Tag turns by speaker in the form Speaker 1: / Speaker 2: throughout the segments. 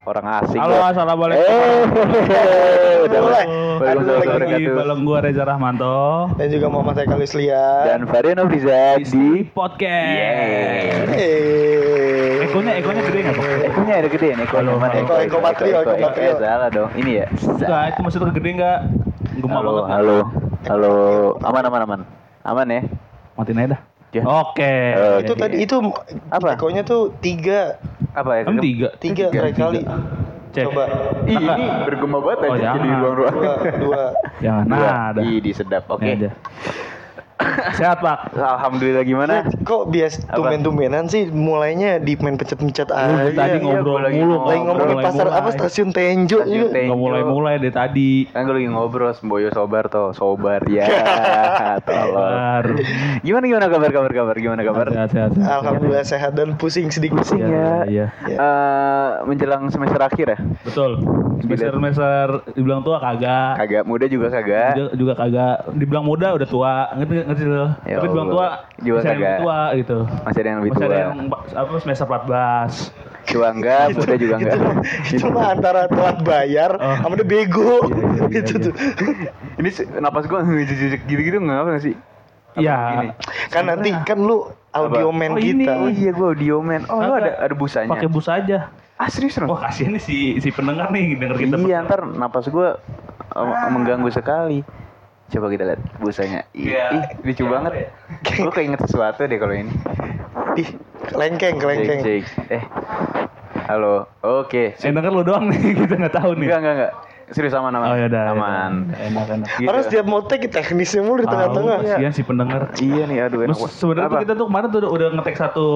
Speaker 1: orang asing.
Speaker 2: Halo,
Speaker 1: loh.
Speaker 2: assalamualaikum.
Speaker 1: Eh, udah mulai.
Speaker 3: mulai.
Speaker 1: Belum
Speaker 3: Aduh,
Speaker 1: selesai
Speaker 3: lagi.
Speaker 1: mereka
Speaker 2: Lagi
Speaker 1: tuh.
Speaker 2: bareng gue Reza Rahmanto
Speaker 3: dan juga Muhammad Haikal Islia.
Speaker 1: Dan Varian Noviza di
Speaker 2: podcast.
Speaker 1: Yeah.
Speaker 3: Eh.
Speaker 2: Ekonya ekonya gede nggak kok?
Speaker 1: Ekonya ada gede nih, Eko.
Speaker 2: Halo,
Speaker 1: Mana
Speaker 2: halo.
Speaker 1: Eko,
Speaker 3: Eko, Eko Patrio, Eko Patrio.
Speaker 1: Eh, salah dong. Ini ya.
Speaker 2: Enggak, itu maksudnya gede nggak? Gemar
Speaker 1: Halo,
Speaker 2: banget.
Speaker 1: halo, halo. Aman, aman, aman. Aman ya.
Speaker 2: Matiin aja dah.
Speaker 1: Ya.
Speaker 2: Oke.
Speaker 1: Eh,
Speaker 3: Itu tadi itu
Speaker 1: Apa?
Speaker 3: Ekonya tuh tiga,
Speaker 1: Apa ya?
Speaker 2: Em tiga.
Speaker 3: tiga terakhir kali.
Speaker 2: Cek.
Speaker 3: Coba
Speaker 1: Ih, ini bergema banget aja
Speaker 2: Oh,
Speaker 1: di
Speaker 2: jangan.
Speaker 1: ruang-ruang.
Speaker 3: dua, dua.
Speaker 2: Jangan.
Speaker 1: Dua.
Speaker 2: Nah, ada.
Speaker 1: Ih, disedap.
Speaker 2: Ini aja.
Speaker 1: Oke.
Speaker 2: Sehat pak.
Speaker 1: Alhamdulillah gimana?
Speaker 3: Kok bias
Speaker 1: Apa?
Speaker 3: tumen-tumenan sih mulainya di main
Speaker 2: Lu
Speaker 3: pencet-pencet
Speaker 2: dari
Speaker 3: aja.
Speaker 2: tadi
Speaker 1: iya,
Speaker 2: ngobrol
Speaker 1: gua lagi
Speaker 2: mulu.
Speaker 1: ngomong.
Speaker 3: Lagi ngomongin
Speaker 2: Mulai-mulai.
Speaker 3: pasar apa stasiun Tenjo
Speaker 1: Stasiun
Speaker 3: juga.
Speaker 1: Tenjo.
Speaker 2: Nggak mulai mulai dari tadi.
Speaker 1: Kan gue lagi ngobrol sama Boyo Sobar toh, Sobar ya. Tolong.
Speaker 2: Baru.
Speaker 1: Gimana gimana kabar kabar kabar gimana kabar?
Speaker 2: Sehat sehat. sehat.
Speaker 3: Alhamdulillah sehat dan pusing sedikit.
Speaker 1: Pusing
Speaker 2: Iya,
Speaker 1: ya.
Speaker 2: iya.
Speaker 1: Eh, menjelang semester akhir ya?
Speaker 2: Betul. Semester semester dibilang tua kagak.
Speaker 1: Kagak muda juga kagak.
Speaker 2: juga, juga kagak dibilang muda udah tua ngerti ngerti lo
Speaker 1: Ya
Speaker 2: tapi dibilang tua
Speaker 1: Allah. Juga
Speaker 2: masih ada yang
Speaker 1: kagak.
Speaker 2: tua gitu
Speaker 1: Masih ada yang lebih
Speaker 2: masih
Speaker 1: tua.
Speaker 2: ada yang ba- apa semester 14
Speaker 1: Tua enggak, muda juga enggak.
Speaker 3: Itu mah antara telat bayar
Speaker 2: Oh.
Speaker 3: sama udah bego.
Speaker 2: Iya, iya, iya,
Speaker 3: Itu
Speaker 2: iya.
Speaker 3: tuh.
Speaker 1: Ini se- napas gua ngejejek gitu-gitu enggak apa nggak sih?
Speaker 2: Iya.
Speaker 1: Gini.
Speaker 3: Kan nanti kan lu audio
Speaker 2: Oh,
Speaker 3: man
Speaker 2: ini.
Speaker 3: kita.
Speaker 1: Oh iya gua audio man. Oh lu ada ada busanya.
Speaker 2: pakai bus aja
Speaker 1: Ah serius Ron?
Speaker 2: wah kasihan nih si si pendengar nih denger kita
Speaker 1: Iya, ntar napas gua eh, mengganggu sekali. Coba kita lihat busanya. Ih,
Speaker 2: Iya.
Speaker 1: ih, lucu
Speaker 2: Iya,
Speaker 1: banget.
Speaker 2: apa ya?
Speaker 1: Gua keinget sesuatu deh kalau ini.
Speaker 3: Ih, lengkeng,
Speaker 1: Cek,
Speaker 3: lengkeng.
Speaker 1: cek. Eh. Halo. Oke.
Speaker 2: yang denger lo doang nih kita nggak tahu nih
Speaker 1: Enggak, enggak, enggak. Serius aman aman.
Speaker 2: oh ya udah
Speaker 1: Aman.
Speaker 2: enak enak
Speaker 1: Gitu.
Speaker 3: Harus tiap mau take teknisnya mulu di
Speaker 2: Ah,
Speaker 3: tengah-tengah. ya.
Speaker 2: kasihan si pendengar
Speaker 1: Iya nih, aduh enak.
Speaker 2: Terus sebenarnya tuh
Speaker 1: Apa?
Speaker 2: kita tuh kemarin tuh udah- udah ngetek satu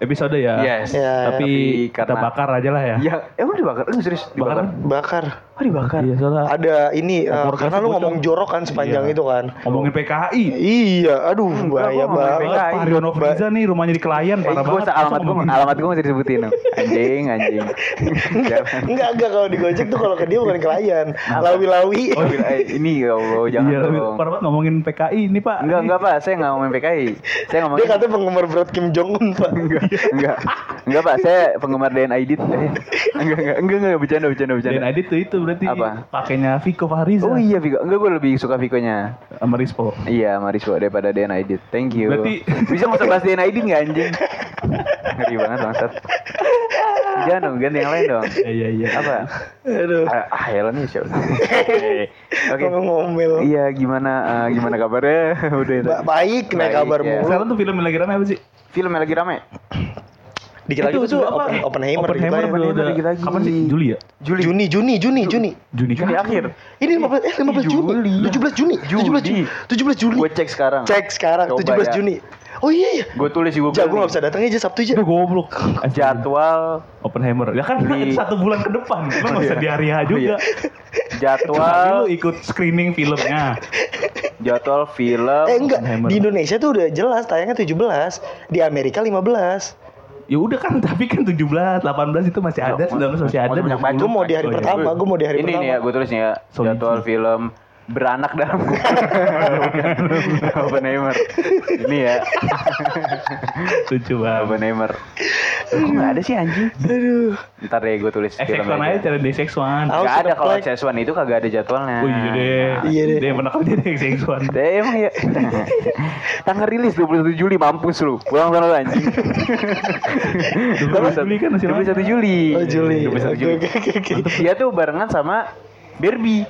Speaker 2: episode ya
Speaker 1: Yes.
Speaker 3: Ya.
Speaker 2: tapi
Speaker 1: Iya, Tapi karena-
Speaker 2: kita bakar aja lah ya
Speaker 1: Ya, emang dibakar? Eh, serius dibakar?
Speaker 2: Bakar.
Speaker 3: Bakar.
Speaker 1: Oh, dibakar.
Speaker 2: iya soalnya
Speaker 3: Ada ini eh,
Speaker 2: Kompor
Speaker 3: karena
Speaker 2: gas
Speaker 3: lu
Speaker 2: bocor.
Speaker 3: ngomong jorok kan sepanjang
Speaker 2: Iya.
Speaker 3: itu kan.
Speaker 2: ngomongin PKI
Speaker 3: Iya, aduh bahaya
Speaker 1: gua ngomongin
Speaker 3: banget.
Speaker 1: PKI.
Speaker 2: Pak Haryono Friza nih rumahnya di Kelayan
Speaker 1: Eh,
Speaker 2: parah
Speaker 1: gua
Speaker 2: banget.
Speaker 1: sa- alamat
Speaker 2: Masa
Speaker 1: gua
Speaker 2: ngomongin-
Speaker 1: alamat gua masih disebutin. no. Anjing, anjing. Jangan.
Speaker 3: Enggak, enggak kalau di Gojek tuh kalau ke dia bukan klien. Lawi-lawi.
Speaker 1: Oh, gila, eh, ini ya Allah, jangan
Speaker 2: iya, lebih
Speaker 1: dong.
Speaker 2: parah banget ngomongin PKI ini Pak.
Speaker 1: Enggak, enggak, Pak. Saya enggak ngomongin PKI. Saya
Speaker 3: Dia
Speaker 1: ngomongin
Speaker 3: katanya penggemar berat Kim Jong Un, Pak.
Speaker 1: enggak. Enggak. Enggak, Pak. Saya penggemar DNA Edit. Enggak, enggak, enggak, enggak bercanda, bercanda,
Speaker 2: Dan
Speaker 1: bercanda.
Speaker 2: Adit tuh itu berarti
Speaker 1: Apa?
Speaker 2: pakainya Viko Fahriza
Speaker 1: Oh iya, Viko. Enggak, gua lebih suka Vikonya.
Speaker 2: sama Rispo.
Speaker 1: Iya, Mariswa daripada DNA Edit. Thank you.
Speaker 2: Berarti-
Speaker 1: bisa nggak usah bahas DNA Edit nggak anjing? Ngeri banget bangsat. Jangan dong, ganti yang lain dong.
Speaker 2: Iya iya iya.
Speaker 1: Apa?
Speaker 3: Aduh.
Speaker 1: Ah, ah ya nih siapa? Oke.
Speaker 3: Ngomong ngomel.
Speaker 1: Iya, gimana eh, gimana kabarnya? Udah itu.
Speaker 3: Ba- baik,
Speaker 1: Baik,
Speaker 3: naik kabar
Speaker 1: ya.
Speaker 3: mulu.
Speaker 2: Sekarang tuh film yang lagi rame apa sih?
Speaker 1: Film yang lagi rame.
Speaker 3: Dikit lagi tuh sebenarnya open,
Speaker 2: Oppenheimer
Speaker 3: Oppenheimer, dikit
Speaker 2: tuh
Speaker 3: lagi.
Speaker 1: Oppenheimer
Speaker 2: udah
Speaker 1: lagi-lagi.
Speaker 2: kapan sih? Juli ya?
Speaker 1: Juli.
Speaker 3: Juni, Juni, Juni, Juni.
Speaker 2: Juni
Speaker 1: Juni
Speaker 2: kan?
Speaker 1: akhir.
Speaker 3: Ini 15 eh 15 Juni,
Speaker 1: iya.
Speaker 3: 17 Juni, 17 Juni, 17 Juni.
Speaker 1: Gue cek sekarang.
Speaker 3: Cek sekarang
Speaker 1: Coba
Speaker 3: 17
Speaker 1: ya.
Speaker 3: Juni. Oh iya iya.
Speaker 1: Gue tulis juga.
Speaker 3: Jago nggak bisa datang iya, aja Sabtu aja.
Speaker 2: Udah goblok.
Speaker 1: Jadwal
Speaker 2: Oppenheimer. Ya kan
Speaker 1: Di-
Speaker 2: satu bulan ke depan. Lu nggak usah
Speaker 1: Iya.
Speaker 2: di hari H juga.
Speaker 1: Iya. jadwal
Speaker 2: Kecuali lu ikut screening filmnya.
Speaker 1: jadwal film
Speaker 3: Eh enggak,
Speaker 2: Oppenheimer.
Speaker 3: di Indonesia tuh udah jelas tayangnya 17, di Amerika 15.
Speaker 2: Ya udah kan, tapi kan 17, 18 itu masih ada, 19 masih ada.
Speaker 1: Masih banyak banget.
Speaker 3: Gue mau di hari
Speaker 2: Oh, iya.
Speaker 3: pertama, gue mau di hari
Speaker 1: ini
Speaker 3: pertama.
Speaker 1: nih ya gue tulis nih ya
Speaker 2: Solid.
Speaker 1: jadwal film beranak dalam Oppenheimer ini ya
Speaker 2: Lucu banget.
Speaker 1: Oppenheimer kok nggak ada sih anjing
Speaker 3: Aduh.
Speaker 1: ntar deh gue tulis
Speaker 2: XX1
Speaker 1: filmnya
Speaker 2: aja,
Speaker 1: aja
Speaker 2: cara di XX1.
Speaker 3: House
Speaker 1: nggak
Speaker 3: of
Speaker 1: ada
Speaker 3: the
Speaker 1: kalau
Speaker 3: Black.
Speaker 1: CS1 itu kagak ada jadwalnya
Speaker 2: Oh iya deh.
Speaker 3: Iya deh.
Speaker 2: Dia yang pernah kerja di XX1.
Speaker 1: Deh, emang ya tanggal rilis 21 Juli mampus lu pulang sana lu anjing
Speaker 2: 21 Juli kan masih lama.
Speaker 1: 21 Juli
Speaker 3: Oh Juli.
Speaker 1: 21 Juli
Speaker 3: Oke, oke, oke.
Speaker 1: dia tuh barengan sama Derby.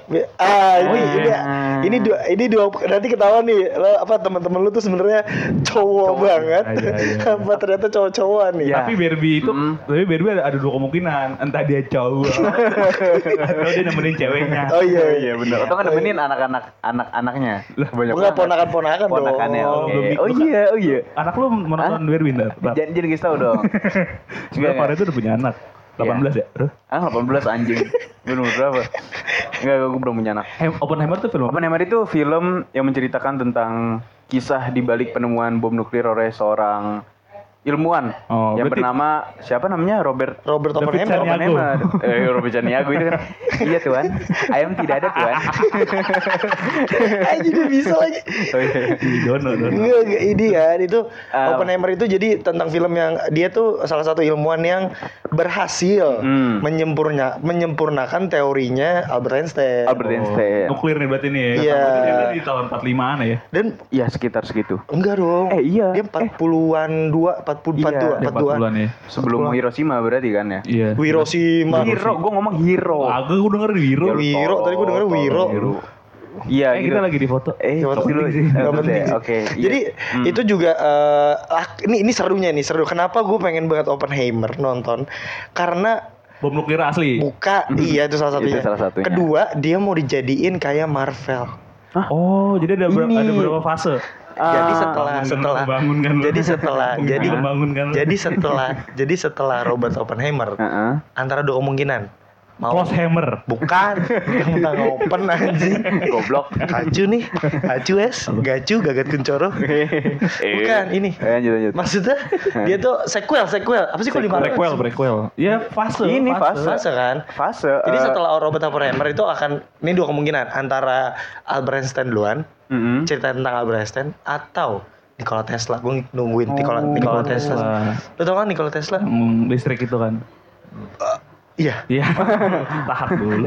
Speaker 3: Ah, ini ini
Speaker 1: Ah.
Speaker 3: ini dua ini dua nanti ketahuan nih lo apa teman-teman lu tuh sebenarnya cowok banget.
Speaker 2: Iya, iya.
Speaker 3: apa ternyata cowok-cowokan nih.
Speaker 1: Iya.
Speaker 2: Tapi Barbie itu,
Speaker 1: Mm.
Speaker 2: tapi Barbie ada, ada dua kemungkinan, entah dia cowok atau dia nemenin ceweknya.
Speaker 3: Oh iya
Speaker 1: Iya benar. Atau kan nemenin anak-anak anak-anaknya. Banyak
Speaker 3: Enggak
Speaker 1: banget.
Speaker 3: ponakan-ponakan dong.
Speaker 1: Ponakannya.
Speaker 2: Oh,
Speaker 1: oke.
Speaker 2: belum di-
Speaker 1: Oh iya, oh iya.
Speaker 2: Anak lu menonton
Speaker 1: Hah?
Speaker 2: Barbie ntar? Tar.
Speaker 1: Jangan jangan kasih tahu dong.
Speaker 2: Sebenarnya
Speaker 1: Enggak,
Speaker 2: Farah itu udah punya anak. 18 ya? Aduh.
Speaker 1: Ah 18 anjing. Gue nomor berapa? Enggak, gue belum punya anak.
Speaker 2: Hem, Eh, Oppenheimer tuh film apa?
Speaker 1: Oppenheimer itu film yang menceritakan tentang kisah di balik penemuan bom nuklir oleh seorang ilmuwan
Speaker 2: Oh,
Speaker 1: yang
Speaker 2: berarti-
Speaker 1: bernama siapa namanya Robert
Speaker 3: Robert
Speaker 2: David
Speaker 3: Oppenheimer.
Speaker 2: Chania- Niago.
Speaker 1: Oppenheimer. Eh, Robert Janiago itu kan. Iya tuan, ayam tidak ada tuan.
Speaker 3: Aja dia bisa lagi.
Speaker 1: Oh, iya.
Speaker 2: Di Dono, Dono.
Speaker 3: Enggak, enggak ini kan itu
Speaker 1: Ah.
Speaker 3: Oppenheimer itu jadi tentang film yang dia tuh salah satu ilmuwan yang berhasil
Speaker 1: Hmm.
Speaker 3: menyempurna menyempurnakan teorinya Albert Einstein.
Speaker 1: Albert Einstein.
Speaker 2: Oh. Nuklir nih berarti nih.
Speaker 3: Iya.
Speaker 2: Dia kan di tahun 45-an ya.
Speaker 3: Dan
Speaker 1: Iya sekitar segitu.
Speaker 3: enggak dong.
Speaker 1: Eh, iya.
Speaker 3: Dia 40-an 2 40
Speaker 1: Iya,
Speaker 3: 42
Speaker 2: Di 40-an ya.
Speaker 1: Sebelum Hiroshima berarti kan ya.
Speaker 2: Iya.
Speaker 3: Hiroshima.
Speaker 1: Hero, gue ngomong hero.
Speaker 2: Aku gue denger di Wiro.
Speaker 1: Ya, lu
Speaker 3: Wiro,
Speaker 1: tolol,
Speaker 3: tadi gua dengernya
Speaker 1: tolol,
Speaker 3: Wiro.
Speaker 1: Wiro. Iya,
Speaker 2: Eh,
Speaker 1: gitu.
Speaker 2: kita lagi di foto.
Speaker 1: Eh,
Speaker 3: Gak
Speaker 1: fokus
Speaker 3: penting
Speaker 1: dulu.
Speaker 3: sih, gak
Speaker 1: Fokus
Speaker 3: penting
Speaker 1: ya,
Speaker 3: sih.
Speaker 1: Oke. iya.
Speaker 3: Jadi
Speaker 1: Hmm.
Speaker 3: itu juga eh, ah, ini ini serunya nih seru. Kenapa gue pengen banget Oppenheimer nonton? Karena
Speaker 2: Bom nuklir asli.
Speaker 3: buka iya itu salah satunya.
Speaker 1: Hmm. Itu salah satunya.
Speaker 3: Kedua dia mau dijadiin kayak Marvel.
Speaker 2: Oh, jadi ada, ber-
Speaker 1: Ini.
Speaker 2: ada berapa fase?
Speaker 3: jadi
Speaker 1: Ah,
Speaker 3: setelah
Speaker 2: bangun,
Speaker 3: setelah
Speaker 2: bangun kan lu.
Speaker 3: jadi setelah
Speaker 2: Bangun,
Speaker 3: jadi
Speaker 2: bangun kan lu.
Speaker 3: jadi setelah jadi setelah Robert Oppenheimer
Speaker 1: Heeh.
Speaker 3: antara dua kemungkinan mau
Speaker 2: Close hammer.
Speaker 3: bukan tentang open anjing
Speaker 1: Eh, Goblok.
Speaker 3: kacu nih kacu es gacu gagat kencoro bukan ini
Speaker 1: Eh, lanjut, lanjut.
Speaker 3: maksudnya dia tuh sequel sequel apa sih kalau di Marvel
Speaker 2: Prequel, prequel. Ya fase.
Speaker 1: Ini fase.
Speaker 3: fase kan
Speaker 1: Fase.
Speaker 3: jadi
Speaker 1: eh,
Speaker 3: setelah Robert Oppenheimer itu akan ini dua kemungkinan antara Albert Einstein duluan
Speaker 1: mm-mm.
Speaker 2: Hmm.
Speaker 3: cerita tentang Albert Einstein atau Nikola Tesla. Gue nungguin Nikola
Speaker 1: Oh,
Speaker 3: Nikola
Speaker 1: Nikola
Speaker 3: Tesla. Lo tau kan Nikola Tesla?
Speaker 2: Hmm, listrik itu kan.
Speaker 3: Iya.
Speaker 2: Iya. Tahap dulu.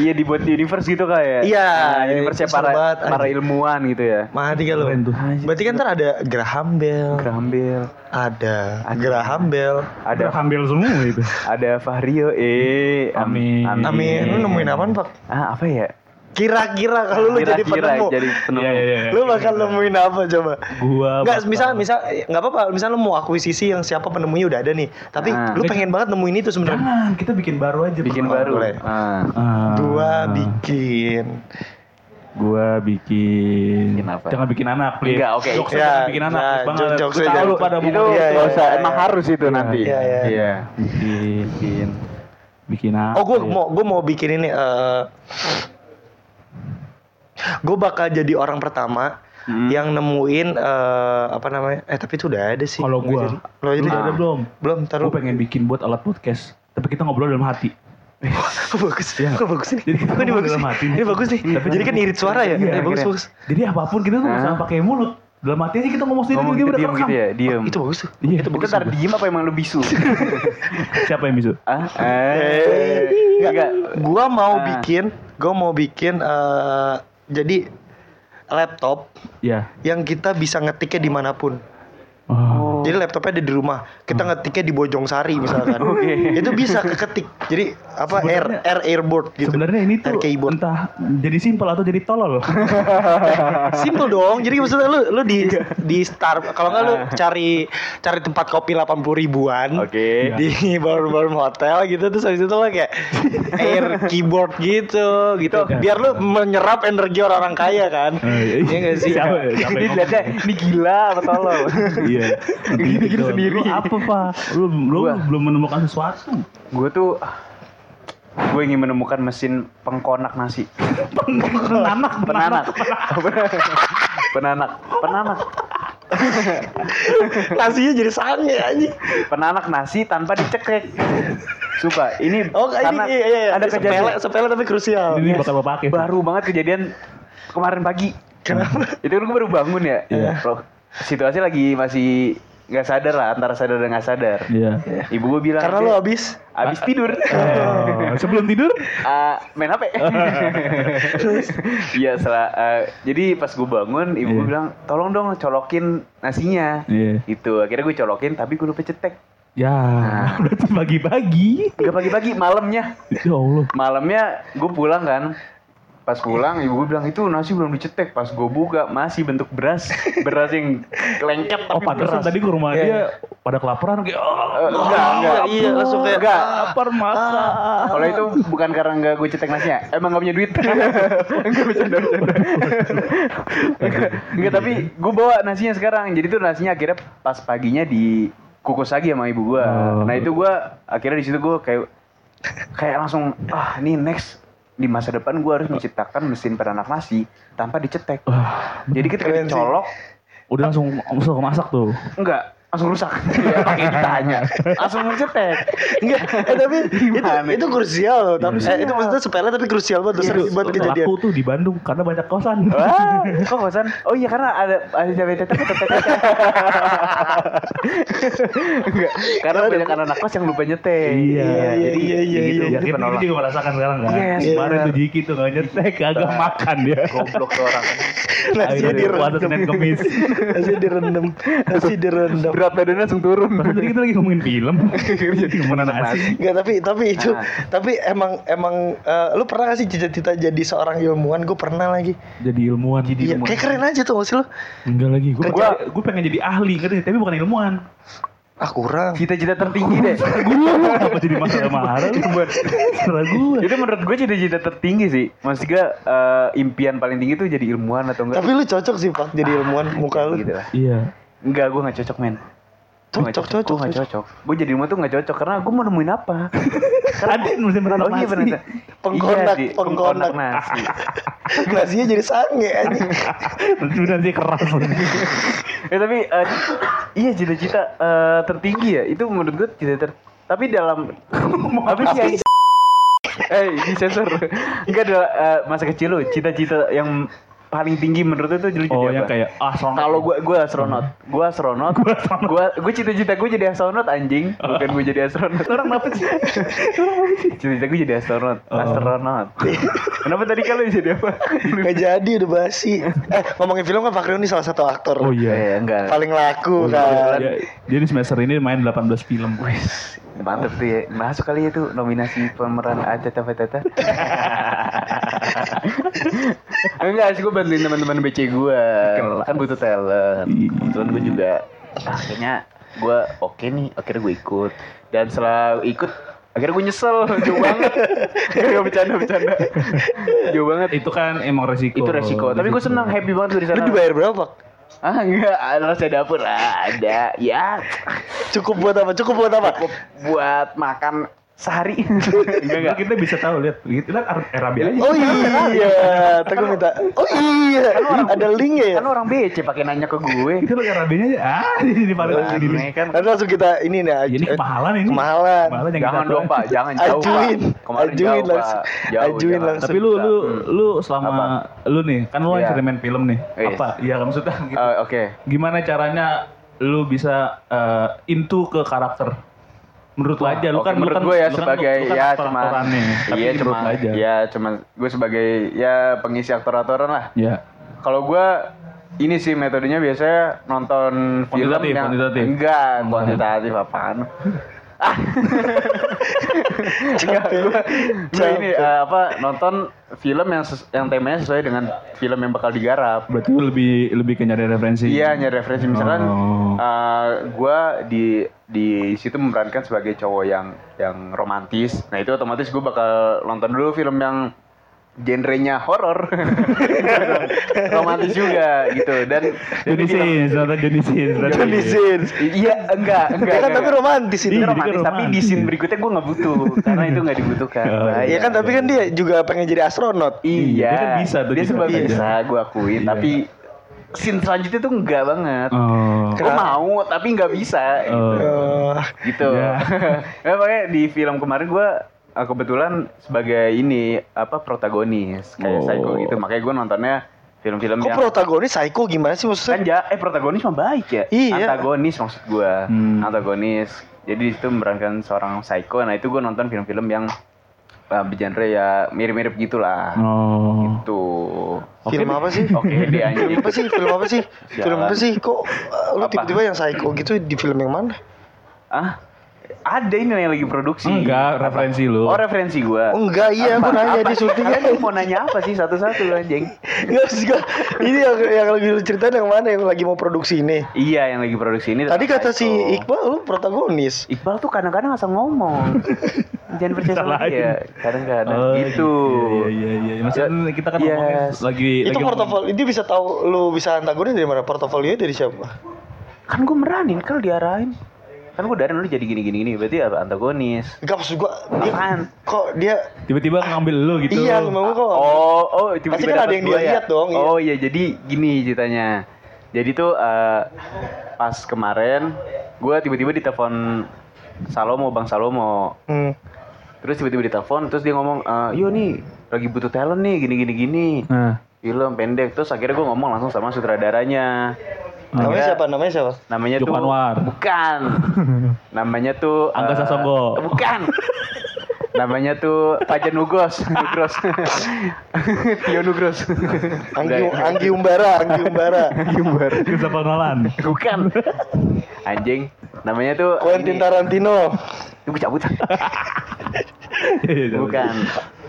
Speaker 1: Iya dibuat universe gitu kayak.
Speaker 3: Iya,
Speaker 1: Nah,
Speaker 3: iya,
Speaker 1: universe
Speaker 3: itu
Speaker 1: para
Speaker 3: seru banget,
Speaker 1: para
Speaker 3: anjing.
Speaker 1: ilmuwan gitu ya.
Speaker 3: Mati gak lo?
Speaker 2: Keren tuh.
Speaker 3: Berarti kan ntar ada Graham Bell,
Speaker 1: Graham Bell,
Speaker 3: ada
Speaker 1: Ada.
Speaker 3: Graham Bell.
Speaker 1: ada
Speaker 2: Udah ambil semua itu.
Speaker 1: ada Fahrio, eh, am-
Speaker 2: Amin.
Speaker 3: Amin,
Speaker 2: Iya.
Speaker 3: lu nemuin apaan pak?
Speaker 1: Ah, apa ya?
Speaker 3: Kira-kira kalau lu jadi
Speaker 1: Kira-kira
Speaker 3: penemu,
Speaker 1: jadi penemu.
Speaker 2: Iya, iya, iya.
Speaker 3: lu bakal nemuin apa coba?
Speaker 2: Gua
Speaker 3: Nggak,
Speaker 2: bakal-
Speaker 3: misal, misal, nggak apa-apa. Misal lu mau akuisisi yang siapa penemunya udah ada nih, tapi
Speaker 2: Nah,
Speaker 1: Ah.
Speaker 3: lu pengen banget nemuin itu sebenarnya.
Speaker 2: Jangan, kita bikin baru aja.
Speaker 1: Bikin
Speaker 2: Pak.
Speaker 1: baru.
Speaker 3: Iya, boleh.
Speaker 1: Ah.
Speaker 2: Ah,
Speaker 3: Dua bikin.
Speaker 2: Gua bikin.
Speaker 1: Bikin apa?
Speaker 2: Jangan bikin anak, please.
Speaker 1: Enggak, oke.
Speaker 2: Jokesnya
Speaker 3: Ya,
Speaker 2: jangan bikin anak,
Speaker 3: ya,
Speaker 2: please banget.
Speaker 3: jokes-
Speaker 2: Gua
Speaker 3: jokesnya
Speaker 2: tahu lu
Speaker 3: jangan-
Speaker 2: pada
Speaker 1: itu
Speaker 2: mau
Speaker 3: Iya,
Speaker 1: nggak
Speaker 3: iya,
Speaker 1: usah,
Speaker 3: iya,
Speaker 1: emang
Speaker 3: iya.
Speaker 1: harus itu nanti.
Speaker 3: Iya, iya.
Speaker 2: bikin,
Speaker 1: Bikin.
Speaker 2: bikin apa?
Speaker 3: Oh gue
Speaker 2: ya?
Speaker 3: mau gue mau bikin ini. eh gue bakal jadi orang pertama
Speaker 1: Hmm.
Speaker 3: yang nemuin eh apa namanya? Eh tapi itu udah ada sih.
Speaker 2: Kalau
Speaker 3: Nggak
Speaker 2: gua,
Speaker 3: jadi. lo jadi
Speaker 2: lu udah ada belum?
Speaker 3: belum taruh.
Speaker 2: Gue pengen bikin buat alat podcast, tapi kita ngobrol dalam hati.
Speaker 3: bagus.
Speaker 2: Iya.
Speaker 3: Kok bagus nih.
Speaker 2: Jadi kita
Speaker 3: Kok ini
Speaker 2: ngomong
Speaker 3: bagus
Speaker 2: dalam
Speaker 3: nih.
Speaker 2: hati nih.
Speaker 3: Ini bagus nih.
Speaker 2: Iya, Tapi
Speaker 3: jadi kan irit suara ya.
Speaker 2: Iya,
Speaker 3: Eh, bagus
Speaker 1: kira-kira.
Speaker 3: bagus.
Speaker 2: Jadi apapun kita tuh nggak usah
Speaker 1: Hah?
Speaker 2: pakai mulut, dalam hati aja kita ngomong sendiri
Speaker 1: Ngomong
Speaker 2: dia udah
Speaker 1: diem
Speaker 2: kerekam.
Speaker 1: gitu ya, diem.
Speaker 3: Itu bagus tuh.
Speaker 2: Iya.
Speaker 3: Itu
Speaker 1: Kita
Speaker 3: bagus.
Speaker 1: tar diem apa emang lu bisu?
Speaker 2: Siapa yang bisu?
Speaker 1: ah, eh,
Speaker 3: Enggak.
Speaker 2: Iya.
Speaker 1: enggak.
Speaker 3: Gua mau
Speaker 1: Ah.
Speaker 3: bikin, gua mau bikin eh jadi laptop
Speaker 2: Ya.
Speaker 3: yang kita bisa ngetiknya dimanapun.
Speaker 2: Oh.
Speaker 3: Jadi laptopnya ada di rumah. Kita ngetiknya di Bojongsari misalkan.
Speaker 1: Oke.
Speaker 3: Itu bisa keketik. Jadi apa air
Speaker 2: Sebenarnya-
Speaker 3: air airboard gitu.
Speaker 2: Sebenarnya ini tuh
Speaker 3: air keyboard.
Speaker 2: entah jadi simpel atau jadi tolol.
Speaker 3: Simple dong. Jadi maksudnya lu lu di di star kalau nggak lu cari cari tempat kopi 80 ribuan.
Speaker 1: Oke.
Speaker 3: Di baru-baru hotel gitu terus habis itu lo kayak air keyboard gitu gitu. Biar lu menyerap energi orang-orang kaya kan.
Speaker 2: Eh,
Speaker 3: Iya nggak sih?
Speaker 2: Siapa? ya? Siapa
Speaker 1: Ini
Speaker 2: yang
Speaker 1: dilihatnya, ini gila apa tolong?
Speaker 2: ngomong? Iya.
Speaker 1: Gini-gini
Speaker 2: Gitu.
Speaker 1: sendiri.
Speaker 2: Lu apa, Pak? Lu lu
Speaker 1: Gua.
Speaker 2: belum menemukan sesuatu.
Speaker 1: gue tuh gue ingin menemukan mesin pengkonak nasi
Speaker 2: Penanak,
Speaker 1: penanak penanak penanak
Speaker 3: Nasinya jadi sange anjing.
Speaker 1: penanak nasi tanpa dicekek suka ini
Speaker 3: Oh, ini
Speaker 1: karena
Speaker 3: iya, iya, iya.
Speaker 1: ada
Speaker 3: sepele,
Speaker 1: kejadian
Speaker 3: sepele tapi krusial. Iya.
Speaker 2: Ini bakal lo pakai.
Speaker 1: baru banget kejadian kemarin pagi
Speaker 3: Kenapa?
Speaker 1: itu kan gue baru bangun ya
Speaker 2: Iya.
Speaker 1: Bro, situasi lagi masih nggak sadar lah antara sadar dan nggak sadar
Speaker 2: Iya.
Speaker 1: ibu gue bilang
Speaker 3: Karena
Speaker 1: dia
Speaker 3: lu habis
Speaker 1: abis tidur
Speaker 2: Oh, sebelum tidur?
Speaker 1: Ah, main HP. Iya, salah. Ah, jadi pas gue bangun, ibu gue
Speaker 2: Iya.
Speaker 1: bilang, tolong dong colokin nasinya. Gitu,
Speaker 2: Iya.
Speaker 1: Itu akhirnya gue colokin, tapi gue lupa cetek.
Speaker 2: Ya,
Speaker 1: Nah.
Speaker 2: berarti pagi-pagi.
Speaker 1: Gak pagi-pagi, malamnya.
Speaker 2: Ya Allah.
Speaker 1: Malamnya gue pulang kan. Pas pulang ibu gue bilang itu nasi belum dicetek. Pas gue buka masih bentuk beras. Beras yang lengket tapi
Speaker 2: Oh, pantesan
Speaker 1: beras.
Speaker 2: tadi ke rumah
Speaker 1: Iya.
Speaker 2: dia pada kelaparan kayak oh,
Speaker 1: Eh, enggak, enggak.
Speaker 3: Iya, langsung kayak,
Speaker 1: enggak.
Speaker 2: lapar masa.
Speaker 1: Kalau itu bukan karena enggak gue cetek nasinya. Emang gak punya duit. enggak bercanda, bercanda. Enggak, enggak, tapi
Speaker 3: Iya.
Speaker 1: gue bawa nasinya sekarang. Jadi tuh nasinya akhirnya pas paginya di kukus lagi sama ibu gue.
Speaker 2: Oh.
Speaker 1: Nah itu gue akhirnya di situ gue kayak kayak langsung ah ini next di masa depan gue harus menciptakan mesin peranak nasi tanpa dicetek.
Speaker 2: Wah,
Speaker 1: Jadi ketika
Speaker 3: Oh, Keren sih.
Speaker 1: dicolok
Speaker 2: udah langsung langsung ke masak tuh.
Speaker 1: enggak langsung rusak. Iya, Pakai ditanya. Langsung mencetek.
Speaker 3: Enggak, eh, tapi itu,
Speaker 1: Gimana?
Speaker 3: itu krusial loh. Tapi eh, itu maksudnya sepele tapi krusial banget. Terus
Speaker 2: Terus
Speaker 3: buat kejadian.
Speaker 2: Laku tuh di Bandung karena banyak kosan.
Speaker 1: Wah, kok kosan? Oh iya karena ada ada cabai tetek tetek. tetek. Enggak, karena banyak anak kos yang lupa nyetek.
Speaker 2: Iya,
Speaker 1: jadi
Speaker 3: iya, iya,
Speaker 1: gitu,
Speaker 2: Ya,
Speaker 3: iya.
Speaker 1: jadi
Speaker 2: kita ini
Speaker 1: penolak.
Speaker 2: juga merasakan sekarang kan.
Speaker 1: Yes,
Speaker 2: Kemarin
Speaker 1: benar.
Speaker 2: tuh Jiki tuh gak nyetek, agak makan dia.
Speaker 1: Goblok tuh orang.
Speaker 3: Nasinya
Speaker 2: Akhirnya puasa Senin
Speaker 3: direndam.
Speaker 2: Kemis.
Speaker 3: Nasi direndam. Nasi direndam.
Speaker 1: Berat badannya langsung turun.
Speaker 2: Padahal tadi kita lagi ngomongin film. Jadi ngomongin nasi.
Speaker 3: Enggak, tapi tapi itu
Speaker 1: Ah.
Speaker 3: tapi emang emang eh, lu pernah gak sih cita-cita jadi seorang ilmuwan? Gue pernah lagi.
Speaker 2: Jadi ilmuwan. Jadi
Speaker 3: Iya, kayak keren aja tuh maksud lu.
Speaker 2: Enggak lagi. Gue
Speaker 3: Kerja-
Speaker 2: gue pengen jadi ahli ngerti, tapi bukan ilmuwan.
Speaker 3: Ah kurang.
Speaker 1: Cita-cita tertinggi deh.
Speaker 2: Gue apa jadi marah-marah lu buat serah gue.
Speaker 1: Itu menurut gue cita-cita tertinggi sih. Maksud gue eh, impian paling tinggi tuh jadi ilmuwan atau enggak?
Speaker 3: Tapi lu cocok sih Pak jadi ilmuwan muka lu.
Speaker 1: gitu lah.
Speaker 2: Iya.
Speaker 1: Enggak, gue gak cocok men.
Speaker 2: Oh,
Speaker 1: Gua nggak
Speaker 3: Cocok cocok.
Speaker 1: Gue gak
Speaker 3: cocok.
Speaker 1: cocok. Gue jadi ilmuwan tuh gak cocok karena gue mau nemuin apa.
Speaker 2: Tadi musim beranak
Speaker 1: Oh iya
Speaker 2: nasi.
Speaker 1: benar.
Speaker 3: Pengkonak,
Speaker 1: Iya, Ji.
Speaker 3: pengkonak.
Speaker 1: pengkonak nasi.
Speaker 3: Nasinya jadi sange anjing.
Speaker 2: Nanti beneran sih keras. Iya,
Speaker 1: ya tapi eh, iya cita-cita eh, tertinggi ya itu menurut gue cita ter tapi dalam tapi sih eh disensor enggak ada eh, masa kecil lu cita-cita yang paling tinggi menurut lu tuh jadi
Speaker 2: Oh
Speaker 1: apa?
Speaker 2: yang kayak ah serongkok.
Speaker 1: kalau gue gue astronot gue astronot
Speaker 2: Gua astronot.
Speaker 1: gue gue cita-cita gue jadi astronot anjing bukan gue jadi astronot orang kenapa sih cita-cita gue jadi astronot
Speaker 2: Oh.
Speaker 1: astronot kenapa tadi kalau jadi apa
Speaker 3: Gak jadi udah basi. Eh ngomongin film kan Fakri ini salah satu aktor
Speaker 2: Oh iya.
Speaker 1: Eh, enggak
Speaker 3: paling laku kan.
Speaker 2: Dia, dia di semester ini main 18 film.
Speaker 1: Wes, mantep tuh ya. Masuk kali ya tuh nominasi pemeran Aca Tata Tata. Enggak sih, gue bantuin teman-teman BC gue. Kan butuh talent.
Speaker 2: Iya.
Speaker 1: Kebetulan gue juga. Akhirnya gue oke nih, akhirnya gue ikut. Dan setelah ikut, akhirnya gue nyesel. Jauh banget. Gak bercanda-bercanda. Jauh banget.
Speaker 2: Itu kan emang resiko.
Speaker 1: Itu resiko. Tapi gue seneng, happy banget gue di
Speaker 3: Lu
Speaker 1: sana.
Speaker 3: dibayar berapa? Pak?
Speaker 1: Ah enggak, ada rasa dapur. Ah, ada. Ya,
Speaker 3: Cukup buat apa? Cukup buat apa?
Speaker 1: cukup buat makan sehari. enggak
Speaker 2: Enggak, kita bisa tahu lihat Gitu, lihat Arabia aja.
Speaker 3: Oh iya, Teguh minta. Oh iya, ada linknya ya.
Speaker 1: kan orang BC pakai nanya ke gue
Speaker 2: Kita Gitu, lihat Arabia aja. Ah, di mana
Speaker 1: Aneh
Speaker 2: sendiri.
Speaker 1: kan
Speaker 3: Nanti langsung kita ini nih.
Speaker 2: Ya, ini
Speaker 3: aj-
Speaker 2: kemahalan ini.
Speaker 3: Kemahalan.
Speaker 2: Kemahalan yang
Speaker 1: jangan
Speaker 2: kita
Speaker 1: dong
Speaker 2: tahu.
Speaker 1: pak jangan jauh
Speaker 3: Ajuin.
Speaker 1: pak kemarin
Speaker 3: Ajuin
Speaker 1: jauh
Speaker 3: langsung.
Speaker 1: pak jauh
Speaker 3: Ajuin
Speaker 1: jangan.
Speaker 3: langsung.
Speaker 2: Tapi lu lu lu selama
Speaker 1: Apa?
Speaker 2: lu nih kan lu
Speaker 1: Iya.
Speaker 2: yang sering main film nih.
Speaker 1: Yes.
Speaker 2: Apa? Iya maksudnya gitu.
Speaker 1: Eh, oke
Speaker 2: gimana caranya lu bisa eh, into ke karakter? Menurut lu
Speaker 1: Wah,
Speaker 2: aja lu
Speaker 1: oke,
Speaker 2: kan lu
Speaker 1: menurut
Speaker 2: kan-
Speaker 1: gue ya
Speaker 2: lu kan-
Speaker 1: sebagai
Speaker 2: lu kan
Speaker 1: ya
Speaker 2: aktor-
Speaker 1: cuma
Speaker 2: aktorannya, tapi
Speaker 1: iya
Speaker 2: menurut
Speaker 1: cuma
Speaker 2: lu aja.
Speaker 1: ya cuma gue sebagai ya pengisi aktor-aktoran lah
Speaker 2: Iya.
Speaker 1: kalau gue ini sih metodenya biasanya nonton film
Speaker 2: Kuantitatif,
Speaker 1: yang
Speaker 2: kuantitatif. Hmm.
Speaker 1: enggak kuantitatif apaan ah enggak gue ini
Speaker 3: Capek.
Speaker 1: eh, apa nonton film yang ses- yang temanya sesuai dengan film yang bakal digarap
Speaker 2: Berarti lu lebih lebih ke nyari referensi.
Speaker 1: Iya nyari referensi misalkan
Speaker 2: Oh.
Speaker 1: eh, gua di di situ memerankan sebagai cowok yang yang romantis. Nah itu otomatis gua bakal nonton dulu film yang genrenya horor, romantis juga gitu dan
Speaker 2: Johnny Sins, nonton Johnny Sins. berarti.
Speaker 3: Johnny Sins.
Speaker 1: I- Iya enggak enggak.
Speaker 3: Ya kan
Speaker 1: enggak,
Speaker 3: tapi
Speaker 1: enggak.
Speaker 3: romantis
Speaker 1: Itu
Speaker 3: ini.
Speaker 2: Iya.
Speaker 1: romantis, tapi di scene berikutnya gua nggak butuh karena itu nggak dibutuhkan.
Speaker 2: Oh,
Speaker 1: Bahaya.
Speaker 3: Ya kan tapi kan dia juga pengen jadi astronot.
Speaker 1: Iya,
Speaker 2: Dia kan bisa tuh
Speaker 1: Dia
Speaker 2: di
Speaker 1: sebenarnya
Speaker 2: situ aja.
Speaker 1: bisa, gue akuin.
Speaker 2: Iya.
Speaker 1: Tapi scene selanjutnya tuh enggak banget.
Speaker 2: Oh.
Speaker 1: Gue mau, tapi nggak bisa.
Speaker 2: Oh.
Speaker 3: Eh,
Speaker 1: Gitu.
Speaker 2: Iya.
Speaker 1: Ya, makanya di film kemarin gue kebetulan sebagai ini apa protagonis kayak
Speaker 2: Oh.
Speaker 1: psycho gitu. Makanya gue nontonnya film-film
Speaker 3: kok
Speaker 1: yang
Speaker 3: protagonis psycho gimana
Speaker 1: Iya.
Speaker 3: sih
Speaker 1: kan
Speaker 3: maksudnya?
Speaker 1: ja- eh protagonis mah baik ya.
Speaker 3: Iya.
Speaker 1: Antagonis maksud gue.
Speaker 2: Hmm.
Speaker 1: Antagonis. Jadi di situ memerankan seorang psycho. Nah itu gue nonton film-film yang uh, bergenre ya mirip-mirip gitulah.
Speaker 2: Oh.
Speaker 1: Tuh.
Speaker 3: Film Hmm. apa sih?
Speaker 1: Oke, dia anjing.
Speaker 3: Film apa sih? Film apa sih? Film apa
Speaker 1: Jalan.
Speaker 3: sih? Kok eh, lu
Speaker 1: Apa?
Speaker 3: tiba-tiba yang psycho gitu di film yang mana?
Speaker 1: Ah, ada ini yang lagi produksi.
Speaker 2: Enggak, referensi lu.
Speaker 1: Oh referensi gua.
Speaker 3: Enggak, iya,
Speaker 1: Apa-
Speaker 3: gua nanya
Speaker 1: apa-
Speaker 3: di kan. syutingnya.
Speaker 1: apa- Mau nanya apa sih satu-satu lu, anjing?
Speaker 3: Enggak sih gua- Ini yang yang lagi lu ceritain yang mana yang lagi mau produksi ini.
Speaker 1: Iya yang lagi produksi ini.
Speaker 3: Tadi
Speaker 1: tentang
Speaker 3: kata si
Speaker 1: Psycho.
Speaker 3: Iqbal lu protagonis.
Speaker 1: Iqbal tuh kadang-kadang asal ngomong. Jangan percaya sama
Speaker 2: Salahin.
Speaker 1: dia. Kadang-kadang
Speaker 2: Oh,
Speaker 1: gitu. Ya,
Speaker 2: Iya, iya, iya. Maksudnya kita kan ngomongin
Speaker 1: Yes.
Speaker 2: lagi
Speaker 3: Itu
Speaker 2: lagi ngomongin-
Speaker 3: portofolio dia bisa tahu lu bisa antagonis dari mana? Portofolio dari siapa?
Speaker 1: Kan gue meranin kalau diarahin. Kan gue dari lu jadi gini-gini gini. Berarti apa antagonis?
Speaker 3: Enggak maksud gua dia
Speaker 1: Apaan?
Speaker 3: kok dia
Speaker 2: tiba-tiba ngambil lu gitu.
Speaker 3: iya mau gua kok.
Speaker 1: Oh, oh,
Speaker 3: Pasti
Speaker 1: tiba-tiba
Speaker 3: kan ada
Speaker 1: dapat
Speaker 3: yang
Speaker 1: gua
Speaker 3: dilihat
Speaker 1: ya?
Speaker 3: dong, iya.
Speaker 1: Oh iya, jadi gini ceritanya. Jadi tuh eh, pas kemarin gue tiba-tiba ditelepon Salomo, Bang Salomo.
Speaker 3: Hmm.
Speaker 1: Terus tiba-tiba ditelepon, terus dia ngomong, eh, "Yo nih, lagi butuh talent nih, gini-gini gini."
Speaker 2: Nah,
Speaker 1: Film pendek. Terus akhirnya gue ngomong langsung sama sutradaranya.
Speaker 3: Namanya
Speaker 1: Akhirnya-
Speaker 3: siapa? Namanya siapa?
Speaker 1: Namanya
Speaker 2: Joko
Speaker 1: tuh
Speaker 2: Anwar.
Speaker 1: Bukan. Namanya tuh
Speaker 2: Angga
Speaker 1: eh,
Speaker 2: Sasongko.
Speaker 1: Bukan. Namanya tuh Pajan Nugros, Nugros. Tio Nugros.
Speaker 3: Anggi,
Speaker 1: Udah,
Speaker 3: Anggi Umbara, Anggi Umbara.
Speaker 1: Gimbar.
Speaker 2: Christopher Nolan.
Speaker 1: Bukan. Anjing. Namanya tuh
Speaker 3: Quentin
Speaker 1: ini-
Speaker 3: Tarantino.
Speaker 1: Tuh, gua cabut. Bukan.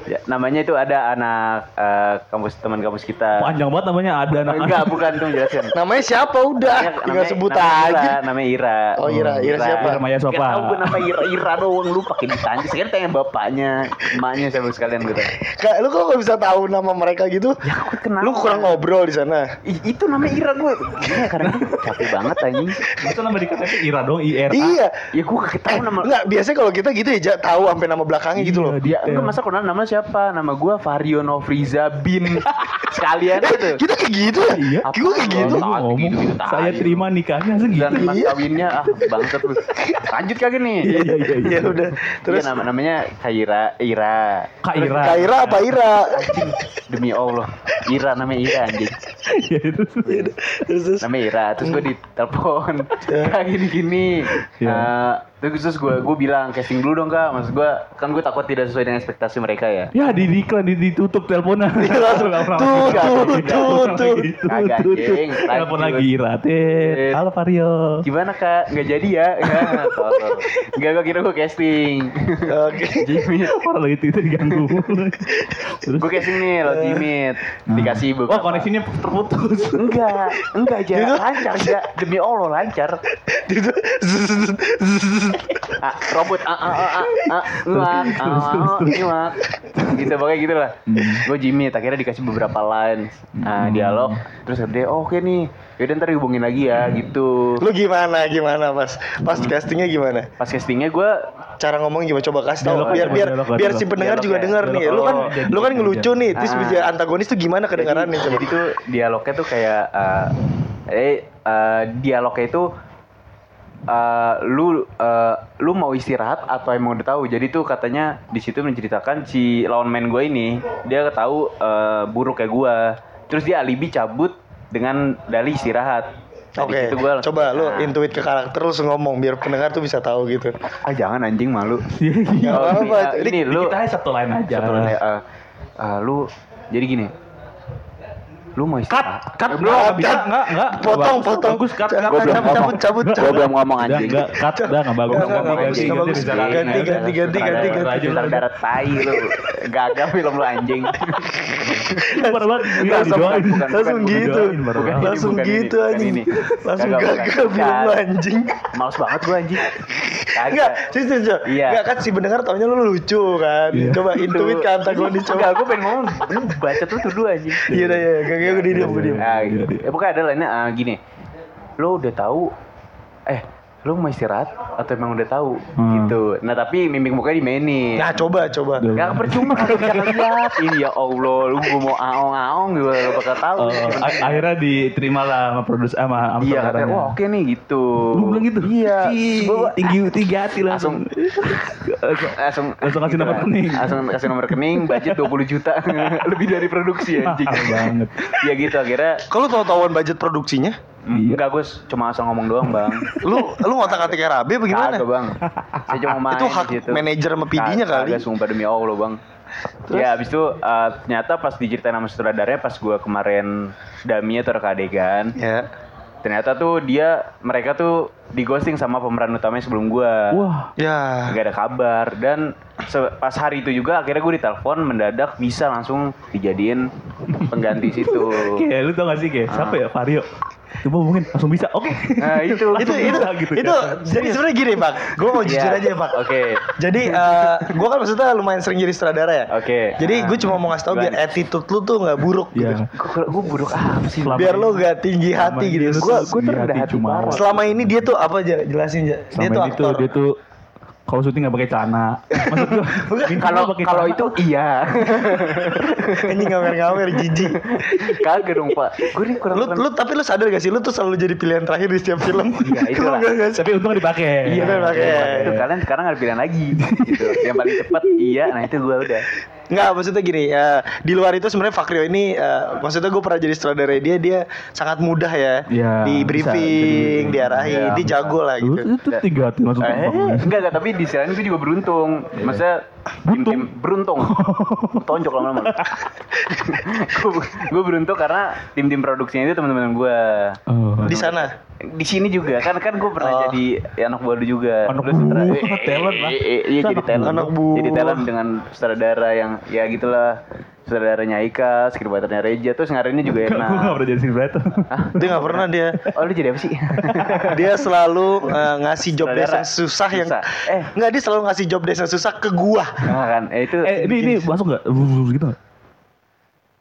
Speaker 1: Ya, namanya itu ada anak eh, kampus teman kampus kita.
Speaker 2: Panjang banget namanya ada anak.
Speaker 1: Enggak, bukan tuh jelasin.
Speaker 3: Namanya siapa
Speaker 1: Namanya-
Speaker 3: udah? Tinggal
Speaker 1: Iya, namanya-
Speaker 3: sebut
Speaker 1: namanya Ira,
Speaker 3: aja.
Speaker 1: Namanya Ira.
Speaker 3: Oh, Ira. Ira siapa?
Speaker 2: Ira Maya Sopa.
Speaker 1: Gak tau gue nama Ira, Ira doang lu pakai ditanya. Sekarang tanya bapaknya, emaknya sama sekalian gitu.
Speaker 3: Kak, lu kok gak bisa tahu nama mereka gitu?
Speaker 1: Aku kenal.
Speaker 3: Lu kurang ngobrol di sana.
Speaker 1: Ih, itu namanya Ira gue. Iya, karena capek banget anjing.
Speaker 2: Itu nama di KTP Ira dong, IR.
Speaker 3: Iya.
Speaker 1: Ya gue gak tau nama.
Speaker 3: Enggak, biasanya kalau kita gitu ya Ja, tahu sampai nama belakangnya gitu
Speaker 2: Oh,
Speaker 3: loh.
Speaker 1: Ya,
Speaker 2: eh.
Speaker 1: enggak masa kenal nama siapa? Nama gue Vario Novriza bin. sekalian gitu.
Speaker 3: Kita kayak gitu ya?
Speaker 2: Iya.
Speaker 3: Gue kayak gitu.
Speaker 1: Apaan?
Speaker 2: Ngomong,
Speaker 1: Gitu-gitu tai.
Speaker 2: saya terima nikahnya gitu." segitu.
Speaker 1: Dan mas
Speaker 3: Iya.
Speaker 1: kawinnya ah bangsat lu. Lanjut kagak nih?
Speaker 2: Iya, iya, iya, iya.
Speaker 3: Ya udah. Terus
Speaker 1: Iya, nama namanya Kaira Ira.
Speaker 2: Kak Ira.
Speaker 3: Kak Ira apa Ira?
Speaker 1: Demi Allah, Ira namanya Ira anjing.
Speaker 2: Iya, terus.
Speaker 3: Terus terus.
Speaker 1: namanya Ira terus gue ditelepon kayak gini gini
Speaker 2: Hmm. Iya.
Speaker 1: Eh, terus terus gue gue bilang casting dulu dong kak maksud gue kan gue takut tidak sesuai dengan ekspektasi mereka ya
Speaker 2: Ya di iklan di, ditutup teleponnya.
Speaker 3: langsung, tuh, tuh, tuh, tuh.
Speaker 1: Kagak,
Speaker 2: Tuh, tuh.
Speaker 1: Jeng. Lanjut.
Speaker 2: gitu. Telepon lagi Ira. Tit. Halo Vario.
Speaker 1: gimana kak nggak jadi ya Ya, tolol. nggak gue kira gue casting
Speaker 3: Oke.
Speaker 1: Jimmy
Speaker 2: Orang lagi Twitter ganggu. Terus.
Speaker 1: gue casting nih lo Jimmy dikasih buku
Speaker 2: Eh. Hmm. Wah koneksinya terputus.
Speaker 1: enggak enggak aja
Speaker 3: Gitu.
Speaker 1: lancar aja demi Allah lancar
Speaker 3: Gitu. Zzz, zzz, zzz.
Speaker 1: ah, robot ah ah ah ah, ah ngak ah ah, ngak gitu pokoknya gitu lah gue Jimmy akhirnya dikasih beberapa lines nah, dialog terus dia oh, oke nih yaudah ntar dihubungin lagi ya gitu
Speaker 3: Lu gimana gimana pas pas castingnya gimana?
Speaker 1: pas castingnya gue
Speaker 3: Cara ngomong gimana coba kasih
Speaker 2: Dialog
Speaker 3: tau
Speaker 2: aja,
Speaker 3: biar biar
Speaker 2: dialog, dialog.
Speaker 3: biar si pendengar
Speaker 1: Dialog
Speaker 3: juga
Speaker 1: ya,
Speaker 3: denger
Speaker 2: dialog.
Speaker 3: nih. Lu kan
Speaker 2: Oh,
Speaker 3: lu kan
Speaker 2: jadi-
Speaker 3: ngelucu nih, terus
Speaker 1: Ah.
Speaker 3: bisa antagonis tuh gimana kedengarannya
Speaker 1: jadi,
Speaker 3: coba?
Speaker 1: jadi tuh dialognya tuh kayak eh, eh eh, dialognya itu eh, lu eh, lu mau istirahat atau emang udah tahu jadi tuh katanya di situ menceritakan si lawan main gue ini dia tahu eh, buruk kayak gue terus dia alibi cabut dengan dalih istirahat Nah, di
Speaker 3: Oke,
Speaker 1: situ gua langsung-
Speaker 3: coba lu
Speaker 1: Nah.
Speaker 3: intuit ke karakter lu langsung ngomong biar pendengar tuh bisa tahu gitu.
Speaker 1: ah jangan anjing malu
Speaker 2: Iya,
Speaker 3: Gak
Speaker 1: Oh,
Speaker 3: apa-apa.
Speaker 1: ini,
Speaker 3: Ini
Speaker 1: ini lu
Speaker 2: Kita aja satu lain aja.
Speaker 1: Satu lagi, eh, eh, lu jadi gini lu mau
Speaker 2: Cut,
Speaker 1: istirahat
Speaker 2: cut,
Speaker 1: Eh,
Speaker 2: bro,
Speaker 1: belum.
Speaker 2: nggak bisa, nggak, nggak.
Speaker 3: potong,
Speaker 2: Bagus,
Speaker 3: potong.
Speaker 2: Bagus, cut, cut,
Speaker 3: Gua
Speaker 2: cut,
Speaker 3: belum
Speaker 2: cabut,
Speaker 3: ngomong.
Speaker 2: cabut, cabut.
Speaker 1: Gue belum ngomong
Speaker 2: Udah,
Speaker 1: anjing.
Speaker 2: nggak, cut, udah, nggak bagus.
Speaker 3: Nggak,
Speaker 2: Nggak
Speaker 3: nggak
Speaker 2: bagus,
Speaker 3: bagus, nggak bagus.
Speaker 2: Rizal Arifin.
Speaker 3: Ganti, ganti, ganti, ganti,
Speaker 2: ganti.
Speaker 1: Sutradara tai lu. Gagal film lu anjing.
Speaker 2: Parah banget, gila,
Speaker 1: bukan, bukan, bukan
Speaker 2: didoain.
Speaker 3: Langsung- langsung gitu.
Speaker 2: didoain, baru
Speaker 1: Bukan,
Speaker 2: banget.
Speaker 3: Langsung
Speaker 1: bukan ini,
Speaker 3: gitu
Speaker 1: bukan
Speaker 3: anjing.
Speaker 1: ini.
Speaker 3: Langsung
Speaker 1: Gagal,
Speaker 3: gagal
Speaker 1: bukan.
Speaker 3: film lu
Speaker 1: Bukan.
Speaker 3: anjing.
Speaker 1: Males banget gue anjing.
Speaker 3: Enggak, sih sih. sih.
Speaker 1: Iya.
Speaker 3: Enggak kan si pendengar taunya lu lucu kan.
Speaker 2: Iya.
Speaker 3: Coba intuit ke antagonis
Speaker 1: Iya. Enggak,
Speaker 3: coba.
Speaker 1: gue pengen ngomong. Lu baca tuh dulu anjing.
Speaker 3: Iya dah ya, gak gak gede diam gua diam.
Speaker 1: Nah, gitu. Eh, bukan ada lainnya ah, gini. Lo udah tahu eh lo mau istirahat atau emang udah tahu
Speaker 2: Hmm.
Speaker 1: gitu. Nah, tapi mimik mukanya dimainin.
Speaker 3: Nah, coba coba.
Speaker 2: Duh.
Speaker 1: Gak percuma kalau bisa lihat. Ini ya Allah, lu gua mau aong-aong juga lo bakal tahu.
Speaker 2: Oh, a- akhirnya diterima lah sama produs eh, sama sama
Speaker 1: iya, katanya,
Speaker 2: saudaranya.
Speaker 1: wah oke nih gitu.
Speaker 2: Lu bilang gitu?
Speaker 1: Iya.
Speaker 2: Ih,
Speaker 1: Gua-
Speaker 2: tinggi tinggi hati
Speaker 1: langsung iya.
Speaker 2: langsung.
Speaker 1: langsung gitu
Speaker 2: Langsung kasih nomor
Speaker 1: lah.
Speaker 2: rekening.
Speaker 1: Langsung kasih nomor rekening, budget 20 juta. Lebih dari produksi anjing.
Speaker 2: Mahal Ah, banget.
Speaker 1: ya gitu akhirnya
Speaker 3: Kalau tahu tauan budget produksinya,
Speaker 2: Iya.
Speaker 1: enggak gue cuma asal ngomong doang, Bang.
Speaker 3: lu lu ngotak-ngatik Rabe bagaimana?
Speaker 1: Kagak bang Saya cuma main
Speaker 3: Itu hak
Speaker 1: di situ.
Speaker 3: manajer sama PD-nya
Speaker 1: Kagak,
Speaker 3: kali.
Speaker 1: Kagak sumpah demi Allah bang Ya abis itu eh, ternyata pas diceritain sama sutradaranya Pas gua kemarin Daminya atau adegan
Speaker 3: Ya.
Speaker 1: eh ternyata tuh dia mereka tuh di ghosting sama pemeran utamanya sebelum gua
Speaker 2: Wah.
Speaker 3: Ya.
Speaker 1: nggak ada kabar dan se- pas hari itu juga akhirnya gue ditelepon mendadak bisa langsung dijadiin pengganti situ
Speaker 2: Kayak lu tau gak sih kayak siapa ya Vario? Coba hubungin langsung bisa. Oke.
Speaker 1: nah itu
Speaker 3: Itu itu
Speaker 2: Bisa gitu
Speaker 3: itu
Speaker 2: kan.
Speaker 3: jadi sebenarnya gini, Bang. Gue mau jujur aja, Bang.
Speaker 1: Iya. oke
Speaker 3: Jadi eh gue kan maksudnya lumayan sering jadi sutradara ya.
Speaker 1: oke Ah.
Speaker 3: Jadi gue cuma mau ngasih tau biar
Speaker 1: Gimana?
Speaker 3: attitude lu tuh nggak buruk gitu.
Speaker 2: Iya.
Speaker 1: gue buruk apa sih
Speaker 2: Selama
Speaker 3: Biar
Speaker 2: ini-
Speaker 3: lu nggak tinggi
Speaker 2: selama
Speaker 3: hati
Speaker 2: ini
Speaker 3: gitu.
Speaker 2: lu
Speaker 3: Gua,
Speaker 2: tuh
Speaker 1: gua tuh
Speaker 2: tinggi
Speaker 1: rendah hati
Speaker 2: jumawa.
Speaker 1: banget.
Speaker 3: selama ini dia tuh apa aja jelasin Ja.
Speaker 2: Selama
Speaker 3: Dia tuh
Speaker 2: ini tuh
Speaker 3: aktor.
Speaker 2: dia tuh kalau syuting nggak pakai celana. Maksud gua bintang
Speaker 1: kalau
Speaker 2: nggak pakai
Speaker 1: kalau
Speaker 2: celana.
Speaker 1: itu iya
Speaker 3: Ini ngamer-ngamer jijik.
Speaker 1: kagak dong pak gue nih kurang
Speaker 3: Lu lu tapi lu sadar gak sih lu tuh selalu jadi pilihan terakhir di setiap film.
Speaker 1: Iya, itulah.
Speaker 3: Lu nggak- nggak sih?
Speaker 2: tapi untung dipakai.
Speaker 3: Iya, memang. pakai.
Speaker 1: Itu kalian sekarang ada pilihan lagi gitu. Yang paling cepat iya, nah itu gua udah.
Speaker 3: Nggak, maksudnya gini, eh, di luar itu sebenarnya Fakrio ini eh, maksudnya gue pernah jadi sutradara dia dia sangat mudah ya.
Speaker 2: Iya,
Speaker 3: di
Speaker 2: bisa
Speaker 3: briefing,
Speaker 2: jadi-
Speaker 3: diarahin,
Speaker 1: Iya,
Speaker 3: dia jago lah
Speaker 2: Lu
Speaker 3: gitu.
Speaker 2: tuh- Iya. itu tiga hati langsung
Speaker 1: Eh,
Speaker 2: eh.
Speaker 1: enggak enggak, tapi di sisi lain gue juga beruntung. Maksudnya tim tim beruntung. Tonjok lama-lama. gue beruntung karena tim-tim produksinya itu teman-teman gua.
Speaker 2: Oh.
Speaker 3: Di sana.
Speaker 1: Di sini juga kan kan gue
Speaker 3: Oh.
Speaker 1: pernah jadi anak baru juga.
Speaker 2: Anak
Speaker 1: Terus sutra-
Speaker 2: buah,
Speaker 1: eh, eh,
Speaker 2: talent lah.
Speaker 1: eh, eh, Iya
Speaker 2: Itu
Speaker 1: jadi
Speaker 2: anak
Speaker 1: talent.
Speaker 3: anak buah.
Speaker 1: Jadi talent dengan sutradara yang ya gitulah. Sutradaranya Ika, skripternya Reja, terus ngarinnya juga
Speaker 2: Gak, gue gak
Speaker 1: enak.
Speaker 2: pernah jadi scriptwriter.
Speaker 3: Dia nggak pernah dia
Speaker 1: Oh lu jadi apa sih?
Speaker 3: dia selalu eh, ngasih job desk
Speaker 1: Saudara.
Speaker 3: yang susah yang
Speaker 1: Susah. Eh.
Speaker 3: nggak dia selalu ngasih job desk yang susah ke gua
Speaker 1: Nah kan, eh, itu
Speaker 2: eh, ini ini masuk gak? Gitu gak?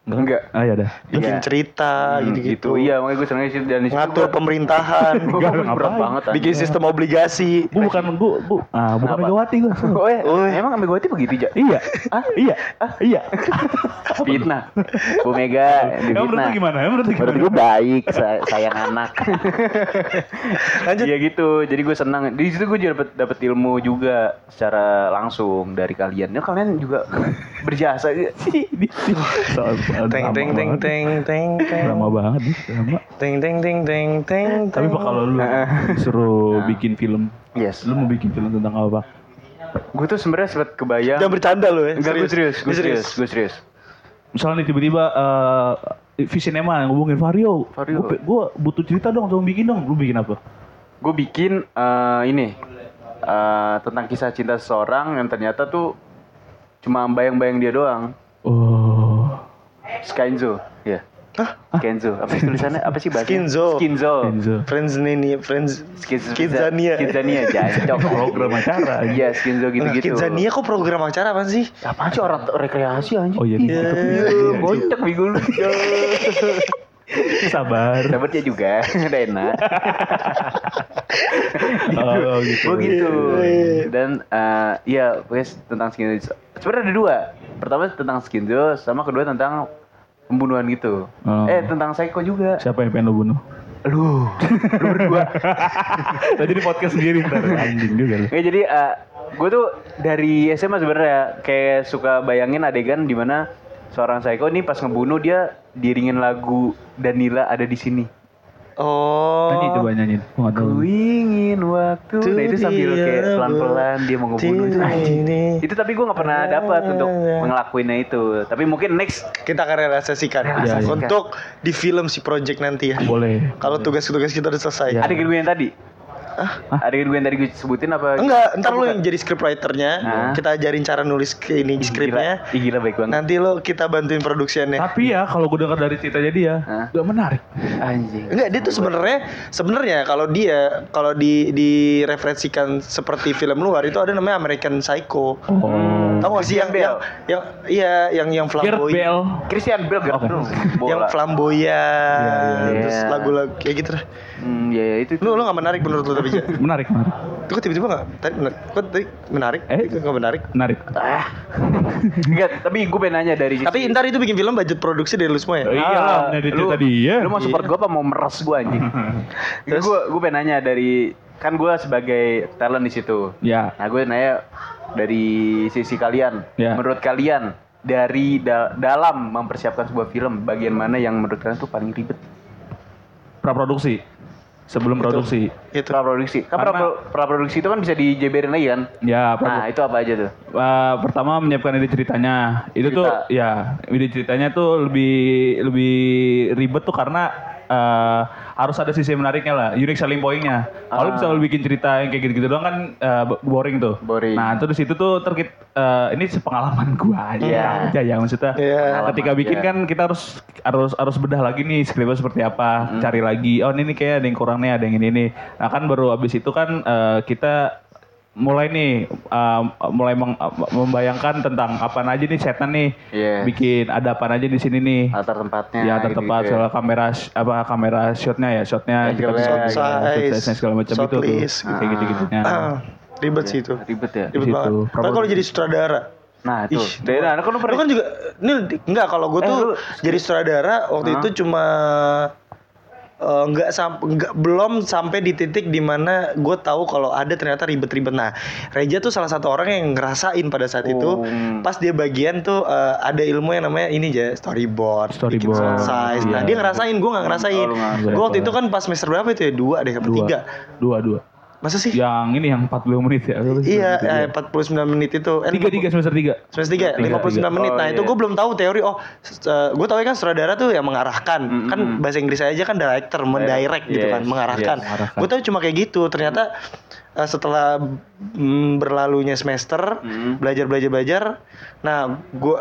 Speaker 1: enggak.
Speaker 2: Ah ya dah.
Speaker 3: bikin
Speaker 1: Iya.
Speaker 2: Ah,
Speaker 3: cerita
Speaker 1: Hmm,
Speaker 3: gitu gitu
Speaker 1: Iya, makanya gue seneng sih dan di situ
Speaker 3: ngatur
Speaker 1: gua-
Speaker 3: pemerintahan
Speaker 1: gua- gua berat
Speaker 2: ngapain.
Speaker 1: banget.
Speaker 3: bikin sistem obligasi
Speaker 2: Gue bukan gue, gue ah bukan
Speaker 1: Kenapa?
Speaker 2: Megawati gue.
Speaker 1: Oh, eh,
Speaker 3: Oi.
Speaker 1: emang ambil gue begitu aja.
Speaker 2: iya, ah, iya, ah, iya.
Speaker 1: Fitnah. Bu Mega di
Speaker 2: Emang menurut
Speaker 1: fitnah.
Speaker 2: lu gimana? Emang menurut lu
Speaker 1: Menurut
Speaker 2: gimana?
Speaker 1: gue baik, say- sayang anak.
Speaker 3: Lanjut.
Speaker 1: Iya gitu. Jadi gue senang. Di situ gue juga dapet, dapet ilmu juga secara langsung dari kalian. Ya kalian juga berjasa.
Speaker 3: teng teng teng teng teng teng
Speaker 2: Lama banget nih, drama.
Speaker 3: teng teng teng teng teng
Speaker 2: Tapi pak kalau lu
Speaker 3: Ah.
Speaker 2: disuruh bikin film,
Speaker 1: Yes.
Speaker 2: lu mau bikin film tentang apa?
Speaker 1: Gue tuh sebenarnya sempat kebayang.
Speaker 3: jangan bercanda lu ya
Speaker 1: Enggak, gue serius, gue
Speaker 3: Ini
Speaker 1: serius, gue serius.
Speaker 2: Misalnya nih tiba-tiba eh Visinema yang ngubungin Vario,
Speaker 1: Vario.
Speaker 2: Gue, butuh cerita dong, tolong bikin dong. Lu bikin apa?
Speaker 1: gue bikin eh, ini eh, tentang kisah cinta seseorang yang ternyata tuh cuma bayang-bayang dia doang
Speaker 2: Oh,
Speaker 1: Skinzo ya
Speaker 3: Hah?
Speaker 1: Skinzo apa sih tulisannya apa sih bahasa
Speaker 3: Skinzo.
Speaker 1: Skinzo
Speaker 2: Enzo.
Speaker 3: friends ini friends
Speaker 1: Skinzo
Speaker 3: Kidzania
Speaker 1: Kidzania jancok
Speaker 2: Program acara.
Speaker 1: iya Skinzo
Speaker 3: Nah,
Speaker 1: gitu-gitu
Speaker 3: Kidzania kok program acara apa sih
Speaker 1: apa sih orang rekreasi anjing
Speaker 2: Oh iya,
Speaker 3: Iya,
Speaker 2: gitu.
Speaker 3: iya.
Speaker 1: Bocok bingung lu
Speaker 2: sabar.
Speaker 1: Dapat dia juga Udah
Speaker 3: Iya,
Speaker 1: enak
Speaker 2: Oh, gitu.
Speaker 1: Gue gitu
Speaker 3: Iya.
Speaker 1: Dan eh ya pokoknya tentang Skinzo Sebenernya ada dua Pertama tentang Skinzo Sama kedua tentang pembunuhan gitu
Speaker 2: Oh.
Speaker 1: Eh tentang Psycho juga
Speaker 2: Siapa yang pengen lu bunuh?
Speaker 1: Lu Lu berdua
Speaker 2: Lah jadi podcast sendiri ntar anjing juga lu.
Speaker 1: Ya jadi gue tuh dari SMA sebenarnya kayak suka bayangin adegan dimana seorang psycho nih pas ngebunuh dia diringin lagu Danila ada di sini.
Speaker 2: Nyanyi
Speaker 3: oh
Speaker 2: coba nyanyiin. Gua enggak tahu.
Speaker 1: Ku ingin waktu. Nah itu sambil kayak pelan-pelan dia mau ngebunuh itu. Anjing. Itu tapi gue nggak pernah dapat untuk ngelakuinnya itu. Tapi mungkin next
Speaker 3: kita akan realisasikan
Speaker 1: Realisasikan.
Speaker 3: untuk di film si project nanti ya
Speaker 2: Boleh.
Speaker 3: kalau tugas-tugas kita udah selesai
Speaker 2: Ya.
Speaker 1: adegan gue yang tadi. Adegan gue yang tadi gue sebutin apa?
Speaker 3: Ah. enggak ntar lu yang jadi scriptwriternya
Speaker 1: Nah.
Speaker 3: kita ajarin cara nulis ke ini
Speaker 1: Ih,
Speaker 3: skripnya Nah.
Speaker 1: Gila, Ih, gila baik banget.
Speaker 3: nanti lo kita bantuin produksiannya
Speaker 2: Tapi ya kalau gue dengar dari ceritanya dia,
Speaker 1: Hah?
Speaker 2: gak menarik.
Speaker 1: Anjing.
Speaker 3: enggak dia tuh sebenarnya sebenarnya kalau dia kalau di direferensikan seperti film luar itu ada namanya American Psycho
Speaker 2: Oh.
Speaker 3: Tahu gak sih yang, yang
Speaker 1: Christian
Speaker 3: yang iya yang yang
Speaker 2: Gareth
Speaker 3: flamboyan
Speaker 2: Bale.
Speaker 1: Christian Bale gerak
Speaker 2: Oke.
Speaker 1: dong.
Speaker 3: yang
Speaker 1: Bola.
Speaker 3: flamboyan
Speaker 1: iya.
Speaker 3: terus lagu-lagu kayak gitu dah.
Speaker 1: Hmm, ya, ya itu.
Speaker 3: Lu lu gak menarik menurut lu tapi Ja?
Speaker 2: Menarik, menarik.
Speaker 3: Itu kok tiba-tiba gak? Tadi menarik. Kok tadi menarik?
Speaker 2: Eh?
Speaker 3: Itu gak menarik.
Speaker 2: Menarik.
Speaker 1: Ah. Enggak, tapi gue pengen nanya dari sisi-
Speaker 3: Tapi ntar itu bikin film budget produksi dari lu semua ya?
Speaker 2: Eh. Iya lah, punya dari
Speaker 1: lu,
Speaker 2: cerita dia.
Speaker 1: Lu mau support gue apa mau meres gue anjing?
Speaker 3: Terus?
Speaker 1: gue gue pengen nanya dari kan gue sebagai talent di situ.
Speaker 2: Ya.
Speaker 1: Nah gue nanya dari sisi kalian,
Speaker 2: Ya.
Speaker 1: menurut kalian dari da- dalam mempersiapkan sebuah film bagian mana yang menurut kalian tuh paling ribet?
Speaker 2: Praproduksi. Sebelum produksi.
Speaker 3: Itu.
Speaker 1: Praproduksi. Kan
Speaker 2: Karena-
Speaker 1: pra- praproduksi itu kan bisa dijeberin lagi kan?
Speaker 2: Ya,
Speaker 1: Nah
Speaker 2: pra-
Speaker 1: itu apa aja tuh?
Speaker 2: eh, pertama menyiapkan ide ceritanya. Itu
Speaker 1: Cerita.
Speaker 2: tuh ya, ide ceritanya tuh lebih lebih ribet tuh karena eh, harus ada sisi menariknya lah, unique selling point-nya. Kalau
Speaker 1: Ah.
Speaker 2: bisa lu bikin cerita yang kayak gitu-gitu doang kan eh, bo- boring tuh.
Speaker 1: Boring.
Speaker 2: Nah, terus itu tuh terkit eh, ini pengalaman gua aja,
Speaker 1: Iya.
Speaker 2: aja ya maksudnya.
Speaker 3: Iya.
Speaker 2: Ketika
Speaker 1: Pengalaman,
Speaker 2: bikin
Speaker 1: iya.
Speaker 2: kan kita harus harus harus bedah lagi nih skripnya seperti apa,
Speaker 1: Hmm.
Speaker 2: cari lagi. Oh, ini nih kayak ada yang kurang nih, ada yang ini nih. Nah, kan baru abis itu kan eh, kita mulai nih eh, mulai meng- membayangkan tentang apa aja nih setnya nih
Speaker 1: Iya.
Speaker 2: bikin ada apa aja di sini nih
Speaker 1: latar tempatnya
Speaker 2: ya ada
Speaker 1: gitu-gitu
Speaker 2: tempat
Speaker 1: ya.
Speaker 2: soal kamera sh- apa kamera shotnya ya shotnya kita
Speaker 1: Angle-nya,
Speaker 2: bisa
Speaker 1: gitu.
Speaker 3: Size,
Speaker 2: size segala macam
Speaker 3: shot
Speaker 2: itu tuh
Speaker 3: list, Ah.
Speaker 2: kayak gitu gitunya
Speaker 3: Ribet sih itu.
Speaker 1: ribet ya
Speaker 3: Ribet
Speaker 2: Di situ.
Speaker 3: banget. Apalagi kalau
Speaker 2: Problem.
Speaker 3: jadi sutradara.
Speaker 1: nah itu
Speaker 3: Ih,
Speaker 1: Dari- nah kan lu
Speaker 3: Lu
Speaker 1: pernah
Speaker 3: kan juga ini enggak kalau gue
Speaker 1: Eh,
Speaker 3: tuh
Speaker 1: lu-
Speaker 3: jadi sutradara waktu itu cuma eh, enggak sampai enggak belum sampai di titik dimana gue tahu kalau ada ternyata ribet-ribet. Nah, Reja tuh salah satu orang yang ngerasain pada saat itu
Speaker 1: Oh.
Speaker 3: pas dia bagian tuh eh, ada ilmu yang namanya ini aja storyboard,
Speaker 2: Storyboard,
Speaker 3: bikin
Speaker 2: Iya,
Speaker 3: sound size. Nah, dia ngerasain, gue nggak ngerasain.
Speaker 1: Oh, lu nggak
Speaker 3: gue waktu itu kan pas semester berapa itu ya dua deh, apa
Speaker 2: dua Iya,
Speaker 3: tiga?
Speaker 2: dua dua
Speaker 3: Masa sih?
Speaker 2: yang ini yang 40 menit ya Apa sih?
Speaker 3: Iya, eh, 49 menit itu. Eh,
Speaker 2: tiga tiga semester tiga
Speaker 3: Semester tiga,
Speaker 2: Tiga,
Speaker 3: 59
Speaker 2: tiga.
Speaker 3: menit.
Speaker 1: Oh,
Speaker 3: Nah itu
Speaker 1: iya.
Speaker 3: gue belum tahu teori. Oh, gue tahu kan sutradara tuh yang mengarahkan. Kan bahasa Inggris aja kan director, mendirect gitu
Speaker 1: Yes,
Speaker 3: kan, mengarahkan.
Speaker 2: yes, mengarahkan.
Speaker 3: Gue tahu cuma kayak gitu. Ternyata eh, setelah mm, berlalunya semester, belajar belajar belajar. Nah gue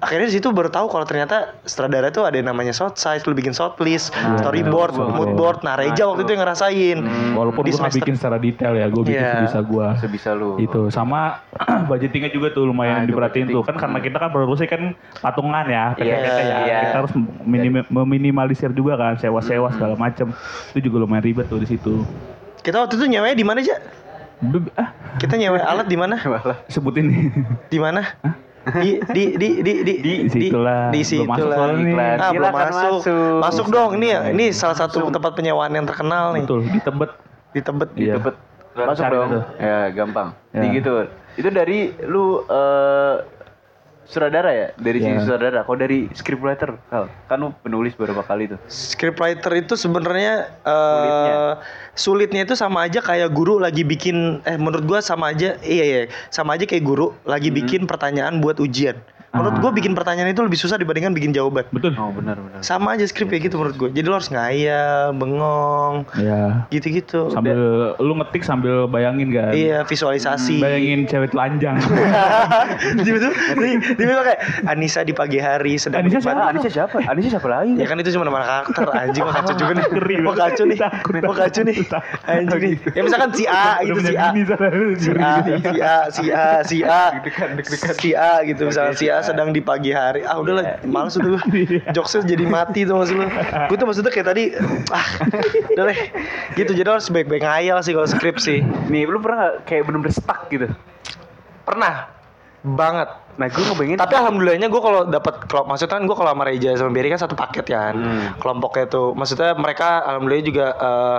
Speaker 3: akhirnya di situ baru tahu kalau ternyata sutradara tuh ada yang namanya shot size, lu bikin shot list,
Speaker 1: Ah, iya,
Speaker 3: storyboard,
Speaker 2: betul.
Speaker 3: mood board. Nah Reja waktu itu yang ngerasain.
Speaker 2: walaupun gue
Speaker 3: Di
Speaker 2: nggak
Speaker 3: semester-
Speaker 2: bikin secara detail ya gue bikin
Speaker 3: Iya.
Speaker 2: sebisa gue
Speaker 1: sebisa lu
Speaker 2: itu sama budgetingnya juga tuh
Speaker 1: Nah,
Speaker 2: lumayan
Speaker 3: Ah,
Speaker 1: itu
Speaker 2: diperhatiin tuh kan karena kita kan produksi kan patungan ya PT-PT ya
Speaker 1: Iya.
Speaker 2: kita harus minim- meminimalisir juga kan sewa-sewa segala macem itu juga lumayan ribet tuh di situ
Speaker 3: Kita waktu itu nyewanya di mana aja?
Speaker 2: Beb- ah,
Speaker 3: Kita nyewa alat di mana?
Speaker 1: malah
Speaker 2: sebutin
Speaker 3: di mana? Di di di di di di
Speaker 2: Di situ lah.
Speaker 3: Di
Speaker 2: Belum
Speaker 3: situ
Speaker 2: masuk
Speaker 3: lah.
Speaker 2: soalnya nih.
Speaker 3: Ah, belum
Speaker 1: Silakan
Speaker 3: masuk.
Speaker 1: masuk.
Speaker 3: masuk. dong ini ya. Ini salah satu tempat penyewaan yang terkenal nih
Speaker 2: betul di Tebet
Speaker 3: di Tebet.
Speaker 2: Iya.
Speaker 1: Cepet masuk
Speaker 2: Cari
Speaker 1: dong.
Speaker 2: tuh.
Speaker 1: Ya, gampang.
Speaker 2: Ya.
Speaker 1: Di gitu. Itu dari lu eh sutradara ya? Dari sisi
Speaker 2: Ya.
Speaker 1: sutradara. Kalau dari scriptwriter, Kal, kan lu penulis beberapa kali tuh.
Speaker 3: Scriptwriter itu sebenarnya eh, sulitnya itu sama aja kayak guru lagi bikin eh menurut gua sama aja iya iya sama aja kayak guru lagi
Speaker 2: Mm-hmm.
Speaker 3: bikin pertanyaan buat ujian.
Speaker 2: Ah.
Speaker 3: Menurut gua bikin pertanyaan itu lebih susah dibandingkan bikin jawaban.
Speaker 2: betul
Speaker 1: Oh, benar benar.
Speaker 3: Sama aja skrip kayak gitu menurut gua. Jadi lo harus ngayal, bengong,
Speaker 2: ya
Speaker 3: gitu-gitu.
Speaker 2: sambil lu ngetik sambil bayangin kan
Speaker 3: Iya, visualisasi.
Speaker 2: bayangin cewek telanjang
Speaker 3: Tiba-tiba tiba-tiba kayak Anissa di pagi hari sedang
Speaker 2: Anissa
Speaker 3: menikmati-
Speaker 1: Ah, Anissa siapa? Anissa siapa lagi?
Speaker 3: Ya kan itu cuma nama karakter anjing mau kacau juga nih.
Speaker 2: Ngeri
Speaker 3: Mau
Speaker 2: banget.
Speaker 3: kacau nih.
Speaker 2: Takut,
Speaker 3: Mau kacau nih. Anjing nih. Ya misalkan si A gitu si A. Si A, si A, si A, si A, si A gitu misalkan si A sedang di pagi hari. Ah udahlah, males udah gue.
Speaker 2: Iya.
Speaker 3: Jokesnya jadi mati tuh maksud lu. Gue tuh maksudnya kayak tadi, ah, udah deh. Gitu jadi harus baik-baik ngayal sih kalau skrip sih.
Speaker 1: Nih, lu pernah gak kayak bener-bener stuck gitu?
Speaker 3: Pernah banget
Speaker 1: Nah, gue ngebayangin
Speaker 3: Tapi alhamdulillahnya gue kalau dapat klub, maksudnya kan gue kalau sama Reja sama Berry kan satu paket ya kan, kelompoknya tuh. Maksudnya mereka alhamdulillah juga eh,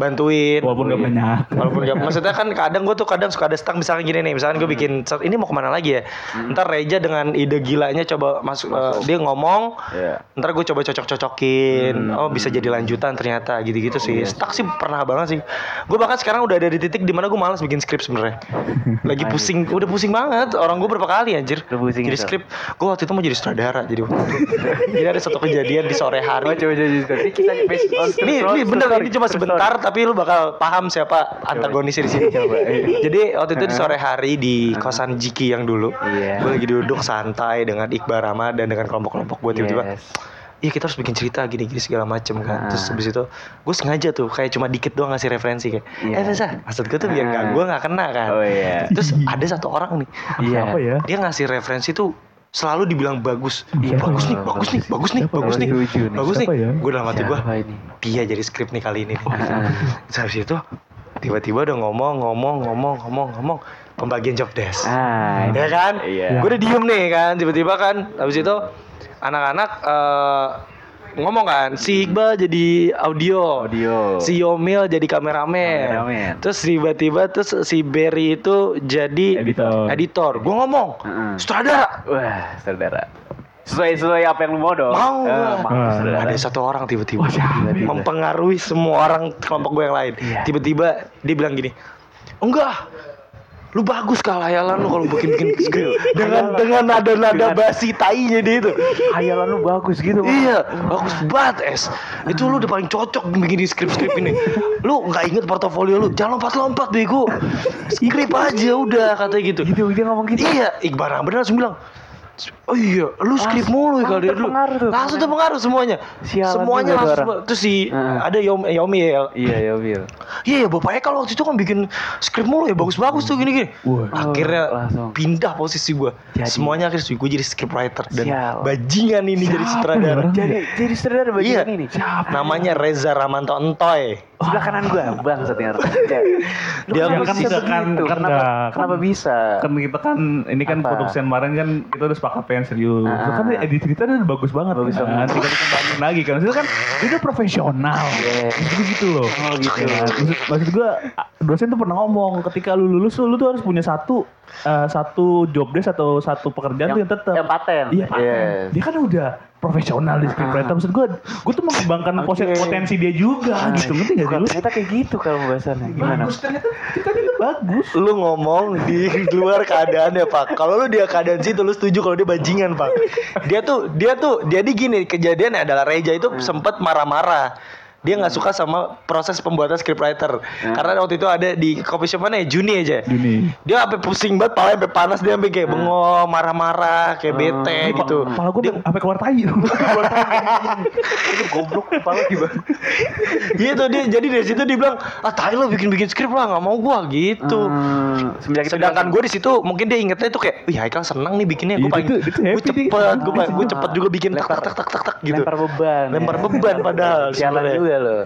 Speaker 3: bantuin.
Speaker 2: walaupun gak banyak
Speaker 3: Walaupun gak, maksudnya kan kadang gue tuh kadang suka ada stang misalkan gini nih, misalkan gue
Speaker 1: Hmm.
Speaker 3: bikin set, ini mau kemana lagi ya? Ntar Reja dengan ide gilanya coba masuk, eh, dia ngomong,
Speaker 1: Iya. Hmm.
Speaker 3: ntar gue coba cocok-cocokin, oh bisa jadi lanjutan ternyata gitu-gitu sih.
Speaker 1: Iya.
Speaker 3: Stuck sih pernah banget sih. Gue bahkan sekarang udah ada di titik dimana gue malas bikin skrip sebenarnya. Lagi pusing, udah pusing banget. Orang gue berapa kali anjir.
Speaker 1: Udah pusing
Speaker 3: jadi
Speaker 1: itu.
Speaker 3: skrip, gue waktu itu mau jadi sutradara, jadi waktu itu. jadi ada satu kejadian di
Speaker 1: Oh,
Speaker 3: sore hari
Speaker 1: coba coba coba. Ini kita based on true story,
Speaker 3: ini, ini Iya, bener
Speaker 1: true story,
Speaker 3: ini cuma
Speaker 1: true
Speaker 3: sebentar tapi lu bakal paham siapa antagonis di sini coba. iya. Jadi waktu itu di sore hari di kosan Jiki yang dulu,
Speaker 1: Iya.
Speaker 3: gue lagi duduk santai dengan Iqbal Rama dan dengan kelompok-kelompok gue
Speaker 1: story.
Speaker 3: tiba-tiba.
Speaker 1: Yes.
Speaker 3: Iya kita harus bikin cerita gini-gini segala macem kan. Terus habis itu gue sengaja tuh kayak cuma dikit doang ngasih referensi kayak.
Speaker 1: Iya.
Speaker 3: Eh Reza, maksud gue tuh biar gak
Speaker 1: Ah.
Speaker 3: gue gak kena kan.
Speaker 1: Oh iya.
Speaker 3: Terus ada satu orang nih.
Speaker 1: Iya.
Speaker 2: apa ya
Speaker 3: Dia ngasih referensi tuh selalu dibilang bagus.
Speaker 1: Iya.
Speaker 3: bagus nih, bagus nih, bagus nih,
Speaker 2: Siapa?
Speaker 3: bagus nih.
Speaker 1: Lucu nih.
Speaker 3: Bagus nih.
Speaker 2: Siapa ya?
Speaker 3: Gue dalam hati gue,
Speaker 1: Siapa ini?
Speaker 3: dia Iya, jadi skrip nih kali ini nih. Terus habis itu tiba-tiba udah ngomong, ngomong, ngomong, ngomong, ngomong pembagian job desk.
Speaker 1: Ah, ini.
Speaker 3: Ya kan?
Speaker 1: Iya.
Speaker 3: Gue udah diem nih kan, tiba-tiba kan habis itu anak-anak eh, ngomong kan, si Iqbal jadi audio,
Speaker 1: Audio.
Speaker 3: si Yomil jadi kameramen.
Speaker 1: Kameramen.
Speaker 3: Terus tiba-tiba terus si Berry itu jadi
Speaker 2: Editor.
Speaker 3: editor. Gue ngomong,
Speaker 1: Mm-mm.
Speaker 3: sutradara.
Speaker 1: Wah, saudara. Sesuai sesuai apa yang lu mau dong.
Speaker 3: Mau.
Speaker 1: Eh,
Speaker 2: Ah.
Speaker 1: saudara.
Speaker 3: Ada satu orang tiba-tiba mempengaruhi semua orang kelompok gue yang lain. Tiba-tiba dia bilang gini, enggak. lu bagus kah layalan lu kalau bikin-bikin skrip dengan dengan nada-nada basi tainya dia itu
Speaker 1: Hayalan lu bagus gitu. Bang.
Speaker 3: Iya, bagus banget es. Itu lu udah paling cocok bikin di skrip-skrip ini. Lu nggak inget portofolio lu, jangan lompat-lompat bego. Skrip aja udah katanya gitu.
Speaker 1: Gitu dia ngomong gitu.
Speaker 3: Iya, Iqbal bener langsung bilang. Oh iya, lu skrip mulu
Speaker 1: langsung
Speaker 3: kali dulu.
Speaker 1: terpengaruh tuh.
Speaker 3: Langsung terpengaruh semuanya.
Speaker 1: Sialan
Speaker 3: semuanya
Speaker 1: juga tuh
Speaker 3: langsung
Speaker 1: orang.
Speaker 3: terus si
Speaker 1: Heeh.
Speaker 3: ada Yomi, Yomi ya.
Speaker 1: Iya ya Bil.
Speaker 3: Iya, ya, bapaknya kalau waktu itu kan bikin skrip mulu ya bagus-bagus tuh gini-gini.
Speaker 2: Wah.
Speaker 3: Akhirnya
Speaker 1: Langsung.
Speaker 3: pindah posisi gua.
Speaker 1: Jadi.
Speaker 3: Semuanya akhirnya gue jadi script writer dan
Speaker 1: Sialan.
Speaker 3: bajingan ini jadi
Speaker 2: Siapa
Speaker 3: sutradara.
Speaker 2: nih orang?
Speaker 1: Jadi jadi sutradara
Speaker 3: Iya.
Speaker 1: bagian ini nih.
Speaker 3: Namanya Reza Ramanto Entoy.
Speaker 1: Sebelah kanan gua bang setiap
Speaker 3: Dia
Speaker 2: kan
Speaker 1: bisa
Speaker 2: tidak kan-
Speaker 1: begitu?
Speaker 2: kan
Speaker 1: kenapa,
Speaker 2: dah, kan-
Speaker 1: kenapa bisa?
Speaker 2: kan kita kan ini kan
Speaker 1: Apa?
Speaker 2: produksi yang kemarin kan kita udah sepakat yang serius.
Speaker 1: Ah.
Speaker 2: Terus kan edit cerita udah bagus banget loh bisa nanti kan dikembangin lagi kan. Maksudnya kan dia udah profesional.
Speaker 1: Iya.
Speaker 2: Gitu gitu loh.
Speaker 1: Oh, gitu.
Speaker 2: Nah, maksud, maksud gua a- dosen tuh pernah ngomong ketika lu lulus lu tuh harus punya satu eh, satu job desk atau satu pekerjaan tuh yang tetap.
Speaker 1: Yang paten.
Speaker 2: Iya, Pak.
Speaker 1: Yes. Ah.
Speaker 2: Dia kan udah profesional di scriptwriter. Maksud gue, gue tuh mengembangkan
Speaker 1: Oke. Ah.
Speaker 2: pos- potensi dia juga gitu. Ngerti gak sih
Speaker 1: Bukan,
Speaker 2: lu? Nah,
Speaker 1: Ternyata Nah, kayak gitu kalau pembahasannya. Gimana?
Speaker 2: Bagus, ternyata ceritanya tuh bagus.
Speaker 3: Lu ngomong di luar keadaannya, Pak. Kalau lu dia keadaan situ lu setuju kalau dia bajingan, Pak. Dia tuh dia tuh jadi gini, kejadiannya adalah Reja itu sempat marah-marah. Dia nggak suka sama proses pembuatan scriptwriter. Karena waktu itu ada di coffee shop mana ya? Juni aja.
Speaker 2: Gini.
Speaker 3: Dia sampai pusing banget, palanya sampai panas, dia sampai kayak bengong, marah-marah, kayak bete gitu.
Speaker 2: Kepala gue
Speaker 3: Dia-
Speaker 2: sampai keluar tai. Keluar tai.
Speaker 1: Itu goblok kepala gimana?
Speaker 3: Iya tuh dia jadi dari situ dia bilang ah tai lo bikin bikin skrip lah nggak mau gua gitu.
Speaker 1: Hmm, semenjak itu dia-
Speaker 3: Sedangkan gue di situ mungkin dia ingetnya tuh kayak, wih Haikal seneng nih bikinnya, gue
Speaker 2: Iya,
Speaker 3: paling
Speaker 2: itu- itu happy
Speaker 3: gue
Speaker 2: dia.
Speaker 3: cepet, gue
Speaker 1: Ah.
Speaker 3: gue cepet juga bikin tak tak
Speaker 1: Lempar-
Speaker 3: tak tak tak tak gitu.
Speaker 1: lempar beban.
Speaker 3: Lempar beban
Speaker 1: Sialan
Speaker 3: padahal sebenarnya.
Speaker 1: juga loh.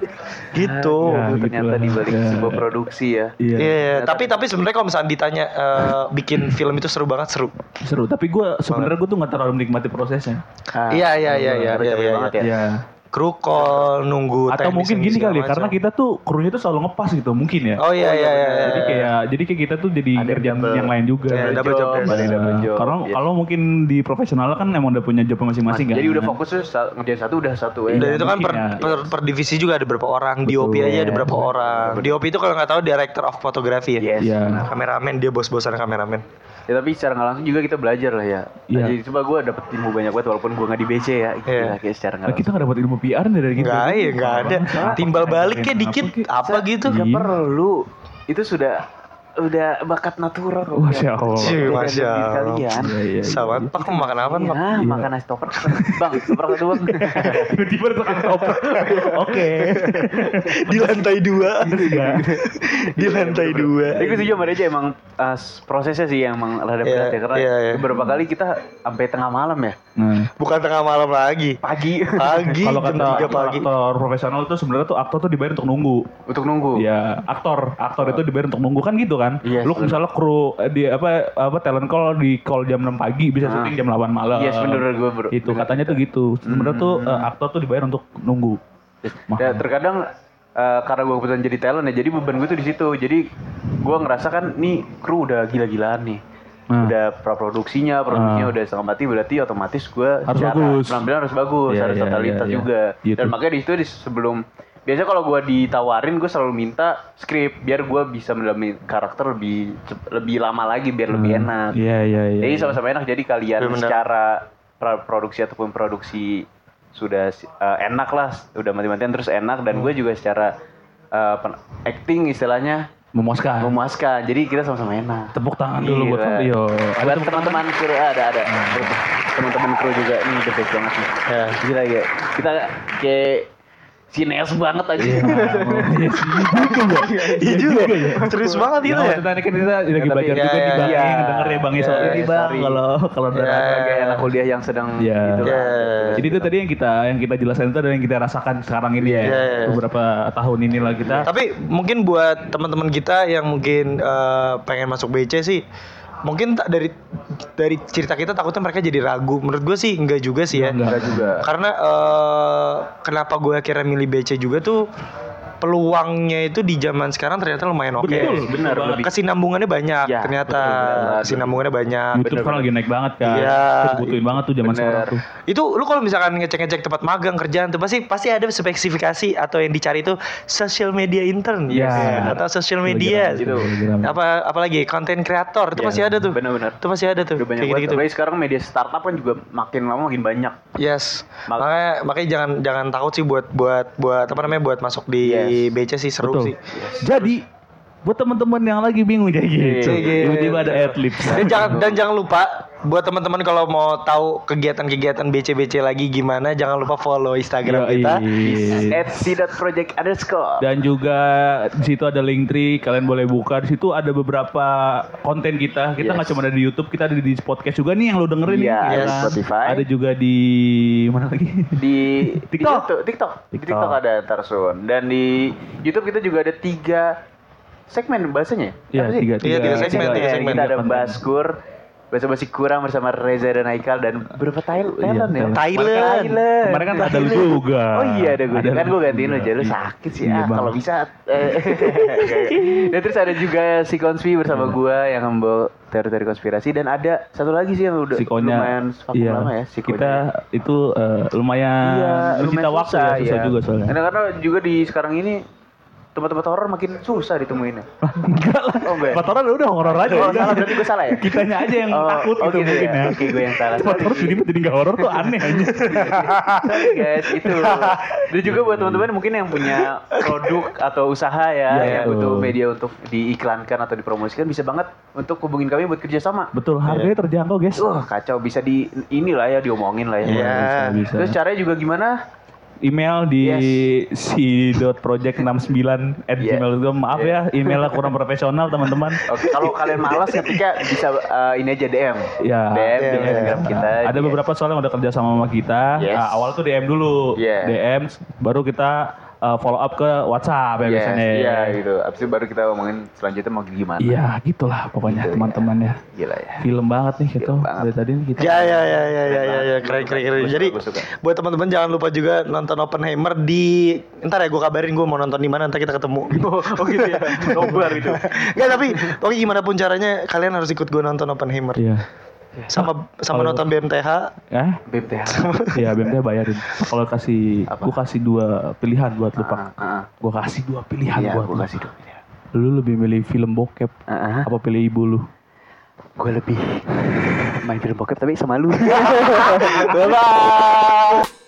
Speaker 3: Gitu.
Speaker 1: Ah,
Speaker 2: Ya,
Speaker 1: gitu ternyata
Speaker 2: lah.
Speaker 1: di balik
Speaker 2: Ya.
Speaker 1: sebuah produksi ya.
Speaker 3: Iya,
Speaker 2: Iya.
Speaker 3: tapi tapi sebenarnya kalau misalnya ditanya eh, bikin film itu seru banget seru.
Speaker 2: Seru, tapi gue sebenarnya gue tuh gak terlalu menikmati prosesnya.
Speaker 1: Ah,
Speaker 3: Iya, iya, iya,
Speaker 1: bener,
Speaker 3: iya,
Speaker 1: bener,
Speaker 3: iya,
Speaker 1: bener
Speaker 3: iya,
Speaker 1: banget
Speaker 3: iya.
Speaker 1: ya.
Speaker 2: Iya.
Speaker 3: Kru call nunggu
Speaker 2: Atau
Speaker 3: teknis
Speaker 2: mungkin
Speaker 3: ini
Speaker 2: gini
Speaker 3: segala
Speaker 2: kali ya, karena
Speaker 3: macam.
Speaker 2: kita tuh krunya tuh selalu ngepas gitu, mungkin ya.
Speaker 3: Oh iya iya iya.
Speaker 2: Jadi kayak jadi kayak kita tuh jadi kerjaan yang lain juga. gitu.
Speaker 3: Iya, double job,
Speaker 1: Job,
Speaker 3: ya.
Speaker 1: balik double
Speaker 2: Nah,
Speaker 1: job.
Speaker 2: Kalau
Speaker 1: Iya.
Speaker 2: kalau mungkin di profesional kan emang udah punya job masing-masing kan.
Speaker 1: Jadi udah fokusnya sa- ngerjain satu udah satu ya.
Speaker 3: Dan itu kan
Speaker 2: mungkin ya.
Speaker 3: per, per, per divisi juga ada berapa orang, DOP aja ada berapa orang. DOP itu kalau nggak tahu director of photography ya.
Speaker 1: Yes.
Speaker 2: Iya.
Speaker 3: Nah, kameramen dia bos-bosan kameramen.
Speaker 1: Ya tapi secara nggak langsung juga kita belajar lah ya.
Speaker 2: Iya.
Speaker 1: Jadi coba gue dapet ilmu banyak banget walaupun gue nggak di BC ya. Gila,
Speaker 3: Iya.
Speaker 1: kayak secara nggak
Speaker 2: Nah,
Speaker 1: langsung.
Speaker 2: kita nggak dapat ilmu PR nih dari kita.
Speaker 3: Enggak,
Speaker 2: Jadi,
Speaker 3: ya enggak ada.
Speaker 2: apa-apa.
Speaker 3: Timbal baliknya
Speaker 2: Apa
Speaker 3: dikit
Speaker 2: kek?
Speaker 3: apa gitu.
Speaker 1: Nggak
Speaker 2: Iya.
Speaker 1: perlu. Itu sudah udah bakat natural. kok.
Speaker 2: Masya Allah.
Speaker 3: Cuy,
Speaker 1: Beda dengan
Speaker 3: Masya
Speaker 1: diri
Speaker 3: Allah.
Speaker 1: Kalian.
Speaker 2: Iya, iya, iya.
Speaker 3: Sama Pak mau makan apa, Pak?
Speaker 1: Iya, makan nasi toprak. Bang, toprak satu bang.
Speaker 2: Tiba-tiba tukang toprak. Oke.
Speaker 3: Di lantai dua.
Speaker 2: Iya.
Speaker 3: Di lantai dua.
Speaker 1: Tapi gue setuju sama Reja emang uh, s- prosesnya sih yang emang rada
Speaker 3: Iya,
Speaker 1: berat ya karena
Speaker 3: iya, iya.
Speaker 1: beberapa kali kita sampai tengah malam ya
Speaker 2: Nah,
Speaker 3: Bukan tengah malam lagi.
Speaker 1: pagi
Speaker 3: Pagi
Speaker 2: kalau
Speaker 3: jam
Speaker 2: kata kalau
Speaker 3: 3 pagi. Iya
Speaker 2: aktor profesional tuh sebenarnya tuh aktor tuh dibayar untuk nunggu.
Speaker 1: untuk nunggu.
Speaker 2: Ya, aktor, aktor itu dibayar untuk nunggu kan gitu kan.
Speaker 1: Oh. Iya,
Speaker 2: Lu
Speaker 1: bener.
Speaker 2: misalnya kru eh, di apa apa talent call di call jam 6 pagi bisa
Speaker 1: Ah.
Speaker 2: syuting jam 8 malam.
Speaker 1: Yes, menurut gue bro.
Speaker 2: Itu katanya tuh gitu. Sebenarnya tuh eh, aktor tuh dibayar untuk nunggu.
Speaker 1: Ya,
Speaker 2: Makanya.
Speaker 1: terkadang eh, karena gue kebetulan jadi talent ya, jadi beban gue tuh di situ. Jadi gue ngerasa kan nih kru udah gila-gilaan nih.
Speaker 2: Hmm.
Speaker 1: Udah praproduksinya, produksinya
Speaker 2: Hmm.
Speaker 1: udah setengah mati berarti otomatis gue
Speaker 2: Harus bagus.
Speaker 1: penampilan harus bagus,
Speaker 2: Iya,
Speaker 1: harus
Speaker 2: iya,
Speaker 1: totalitas
Speaker 2: iya, iya.
Speaker 1: juga.
Speaker 2: Gitu.
Speaker 1: Dan makanya di situ di sebelum biasanya kalau gue ditawarin gue selalu minta skrip biar gue bisa mendalami karakter lebih cep- lebih lama lagi biar lebih enak.
Speaker 2: Iya, iya, iya.
Speaker 1: Jadi sama-sama enak. Jadi kalian
Speaker 3: Benar.
Speaker 1: secara pra- produksi ataupun produksi sudah eh, enak lah, udah mati-matian terus enak.
Speaker 2: Hmm.
Speaker 1: Dan gue juga secara eh, pen- acting istilahnya
Speaker 2: memuaskan.
Speaker 1: memuaskan. Jadi kita sama-sama enak.
Speaker 2: Tepuk tangan Ah. dulu buat
Speaker 1: Gila.
Speaker 2: Fabio. Ada Hmm.
Speaker 1: Buat
Speaker 2: tepuk
Speaker 1: teman-teman kru ah, ada ada. Teman-teman kru juga ini the best banget nih.
Speaker 3: Ya.
Speaker 1: Gila ya. Kita kayak sineas banget aja.
Speaker 2: Iya sih, gitu ya.
Speaker 3: Iya juga. Serius banget
Speaker 2: Iya,
Speaker 3: gitu ya.
Speaker 2: maksudnya ini kan kita lagi
Speaker 1: tapi-
Speaker 2: belajar
Speaker 3: iya,
Speaker 2: juga di
Speaker 3: iya,
Speaker 2: Bang
Speaker 1: iya.
Speaker 2: Eng, denger ya Bang Eng,
Speaker 1: Iya,
Speaker 2: sorry Ya. nih,
Speaker 1: iya,
Speaker 2: Bang
Speaker 1: sorry.
Speaker 2: kalau kalau ada
Speaker 3: Iya.
Speaker 1: Sebagai anak kuliah yang sedang
Speaker 2: Iya.
Speaker 1: gitu lah.
Speaker 3: Ya.
Speaker 2: Jadi itu tadi yang kita yang kita jelasin itu dan yang kita rasakan sekarang ini ya.
Speaker 3: Iya.
Speaker 2: Beberapa tahun inilah kita.
Speaker 3: Tapi mungkin buat teman-teman kita yang mungkin eh, pengen masuk BC sih, mungkin tak dari dari cerita kita takutnya mereka jadi ragu. Menurut gue sih enggak juga sih ya.
Speaker 2: Enggak.
Speaker 1: Juga.
Speaker 3: Karena eh, kenapa gue akhirnya milih BC juga tuh peluangnya itu di zaman sekarang ternyata lumayan oke.
Speaker 1: Betul, benar,
Speaker 3: Banget.
Speaker 1: lebih-
Speaker 3: Kesinambungannya banyak
Speaker 1: Ya,
Speaker 3: ternyata.
Speaker 1: betul, benar.
Speaker 3: Kesinambungannya banyak.
Speaker 2: YouTube kan lagi naik banget kan.
Speaker 3: Iya.
Speaker 2: Terus butuhin banget tuh zaman
Speaker 1: Bener.
Speaker 2: sekarang tuh.
Speaker 3: Itu lu kalau misalkan ngecek-ngecek tempat magang kerjaan tuh pasti pasti ada spesifikasi atau yang dicari itu social media intern
Speaker 2: Iya.
Speaker 3: atau social media
Speaker 2: Itu
Speaker 1: gitu.
Speaker 2: lagi rame, itu lagi rame.
Speaker 3: apa apalagi konten kreator itu
Speaker 1: Iya,
Speaker 3: masih ada tuh.
Speaker 1: benar-benar.
Speaker 3: Itu masih ada tuh.
Speaker 1: Udah banyak
Speaker 3: Kayak
Speaker 1: banget.
Speaker 3: gitu-gitu.
Speaker 1: Apalagi sekarang media startup kan juga makin lama makin banyak.
Speaker 3: Yes.
Speaker 1: Mak-
Speaker 3: makanya makanya jangan jangan takut sih buat buat buat apa namanya buat masuk di
Speaker 1: Yes.
Speaker 3: BC sih seru
Speaker 2: Betul.
Speaker 3: sih.
Speaker 1: Iya.
Speaker 2: Jadi buat teman-teman yang lagi bingung kayak gitu,
Speaker 3: Iya, iya.
Speaker 2: tiba-tiba ada adlibs.
Speaker 3: Dan jangan dan jangan lupa buat teman-teman kalau mau tahu kegiatan-kegiatan BC-BC lagi gimana jangan lupa follow Instagram
Speaker 2: Yoi.
Speaker 3: kita.
Speaker 2: Iya.
Speaker 1: At project underscore.
Speaker 2: Dan juga di situ ada link tree, kalian boleh buka. Di situ ada beberapa konten kita.
Speaker 1: Yes.
Speaker 2: Kita nggak cuma ada di YouTube, kita ada di podcast juga nih yang lo
Speaker 1: Iya,
Speaker 2: dengerin nih.
Speaker 1: ada di
Speaker 2: kan?
Speaker 1: Spotify.
Speaker 2: Ada juga di mana lagi?
Speaker 1: Di di
Speaker 2: TikTok.
Speaker 1: YouTube, TikTok. Di
Speaker 2: TikTok.
Speaker 1: TikTok ada Tarsun. Dan di YouTube kita juga ada tiga segmen bahasanya. ya?
Speaker 2: Iya,
Speaker 1: Apa sih?
Speaker 2: tiga,
Speaker 3: Iya, tiga segmen, tiga
Speaker 1: Iya,
Speaker 3: segmen.
Speaker 1: Kita ada
Speaker 2: konten.
Speaker 1: Baskur, bahasa basi kurang bersama Reza dan Haikal dan berapa
Speaker 2: Oh
Speaker 1: Thailand,
Speaker 2: iya,
Speaker 1: Thailand ya?
Speaker 2: Thailand.
Speaker 3: Thailand.
Speaker 1: Thailand.
Speaker 2: Kemarin kan ada lu juga.
Speaker 1: Oh iya ada gue.
Speaker 2: Ada
Speaker 1: Kan
Speaker 2: lu
Speaker 1: gue gantiin lu
Speaker 2: juga.
Speaker 1: aja lu sakit sih
Speaker 2: Iya,
Speaker 1: ah
Speaker 2: Bang.
Speaker 1: kalau bisa. eh. Dan terus ada juga si Konspi bersama
Speaker 2: Iya.
Speaker 1: gue yang membawa teori-teori konspirasi dan ada satu lagi sih yang udah
Speaker 2: Si Konya.
Speaker 1: lumayan vakum
Speaker 2: Iya.
Speaker 1: lama ya si Konya.
Speaker 2: Kita itu eh, lumayan menyita waktu ya, susah
Speaker 1: iya.
Speaker 2: juga soalnya.
Speaker 1: Karena, karena juga di sekarang ini tempat-tempat horor makin susah ditemuinnya.
Speaker 2: Enggak lah.
Speaker 1: Oh, enggak ya?
Speaker 2: Kotoran udah horor aja.
Speaker 1: Oh,
Speaker 2: udah.
Speaker 1: salah, berarti gue salah ya?
Speaker 2: Kitanya aja yang
Speaker 1: Oh,
Speaker 2: takut
Speaker 1: oh
Speaker 2: gitu
Speaker 1: gitu
Speaker 2: mungkin
Speaker 1: ya.
Speaker 2: ya.
Speaker 1: Oke, gue yang salah.
Speaker 2: Kotoran jadi jadi nggak horor tuh aneh aja.
Speaker 1: Sorry guys, itu. Dan juga buat teman-teman mungkin yang punya produk atau usaha ya,
Speaker 2: Iya,
Speaker 1: yang
Speaker 2: betul.
Speaker 1: butuh media untuk diiklankan atau dipromosikan bisa banget untuk hubungin kami buat kerjasama.
Speaker 2: Betul, harganya terjangkau guys.
Speaker 1: Iya. Wah kacau bisa di inilah ya diomongin lah ya.
Speaker 3: Iya.
Speaker 2: Bisa, bisa.
Speaker 1: Terus caranya juga gimana?
Speaker 2: email di si.project69 at
Speaker 1: Yeah.
Speaker 2: gmail.com maaf
Speaker 1: Iya.
Speaker 2: ya emailnya kurang profesional teman-teman
Speaker 1: Oke, Oh, kalau kalian malas ketika bisa eh, ini aja DM.
Speaker 2: ya
Speaker 1: DM,
Speaker 3: DM,
Speaker 1: di Instagram
Speaker 2: Nah,
Speaker 1: kita.
Speaker 2: ada
Speaker 1: Yes.
Speaker 2: beberapa soal yang udah kerja sama sama kita
Speaker 1: Yes.
Speaker 2: Nah, awal tuh DM dulu
Speaker 1: Yeah.
Speaker 2: DM baru kita uh, follow up ke WhatsApp ya
Speaker 1: Yes,
Speaker 2: biasanya
Speaker 1: Iya gitu. Abis itu baru kita ngomongin selanjutnya mau gimana.
Speaker 2: Iya, gitulah pokoknya
Speaker 1: Gitu,
Speaker 2: teman-teman ya
Speaker 1: Gila ya.
Speaker 2: film banget nih gitu
Speaker 1: Film banget.
Speaker 2: dari tadi nih kita
Speaker 3: Ya ya ya ya ya ya, ya. keren keren keren.
Speaker 1: Gua suka,
Speaker 3: Jadi
Speaker 1: gua suka.
Speaker 3: buat teman-teman jangan lupa juga nonton Oppenheimer di ntar ya gue kabarin gue mau nonton di mana ntar kita ketemu.
Speaker 1: Oh, oh gitu ya. Nobar itu.
Speaker 3: Enggak tapi pokoknya gimana pun caranya kalian harus ikut gue nonton Oppenheimer.
Speaker 2: Iya.
Speaker 3: Sama sama nonton BMTH.
Speaker 2: Eh?
Speaker 1: BMTH.
Speaker 2: Iya, BMT bayarin. Kalau kasih
Speaker 1: Apa?
Speaker 2: gua kasih dua pilihan buat lu, Pak.
Speaker 1: Ah, ah.
Speaker 2: Gua kasih dua pilihan
Speaker 1: Iya,
Speaker 2: buat
Speaker 1: gue
Speaker 2: lu.
Speaker 1: kasih dong.
Speaker 2: Lu lebih milih film bokep apa pilih ibu lu?
Speaker 1: Gue lebih main film bokep tapi sama lu.
Speaker 3: Bye bye.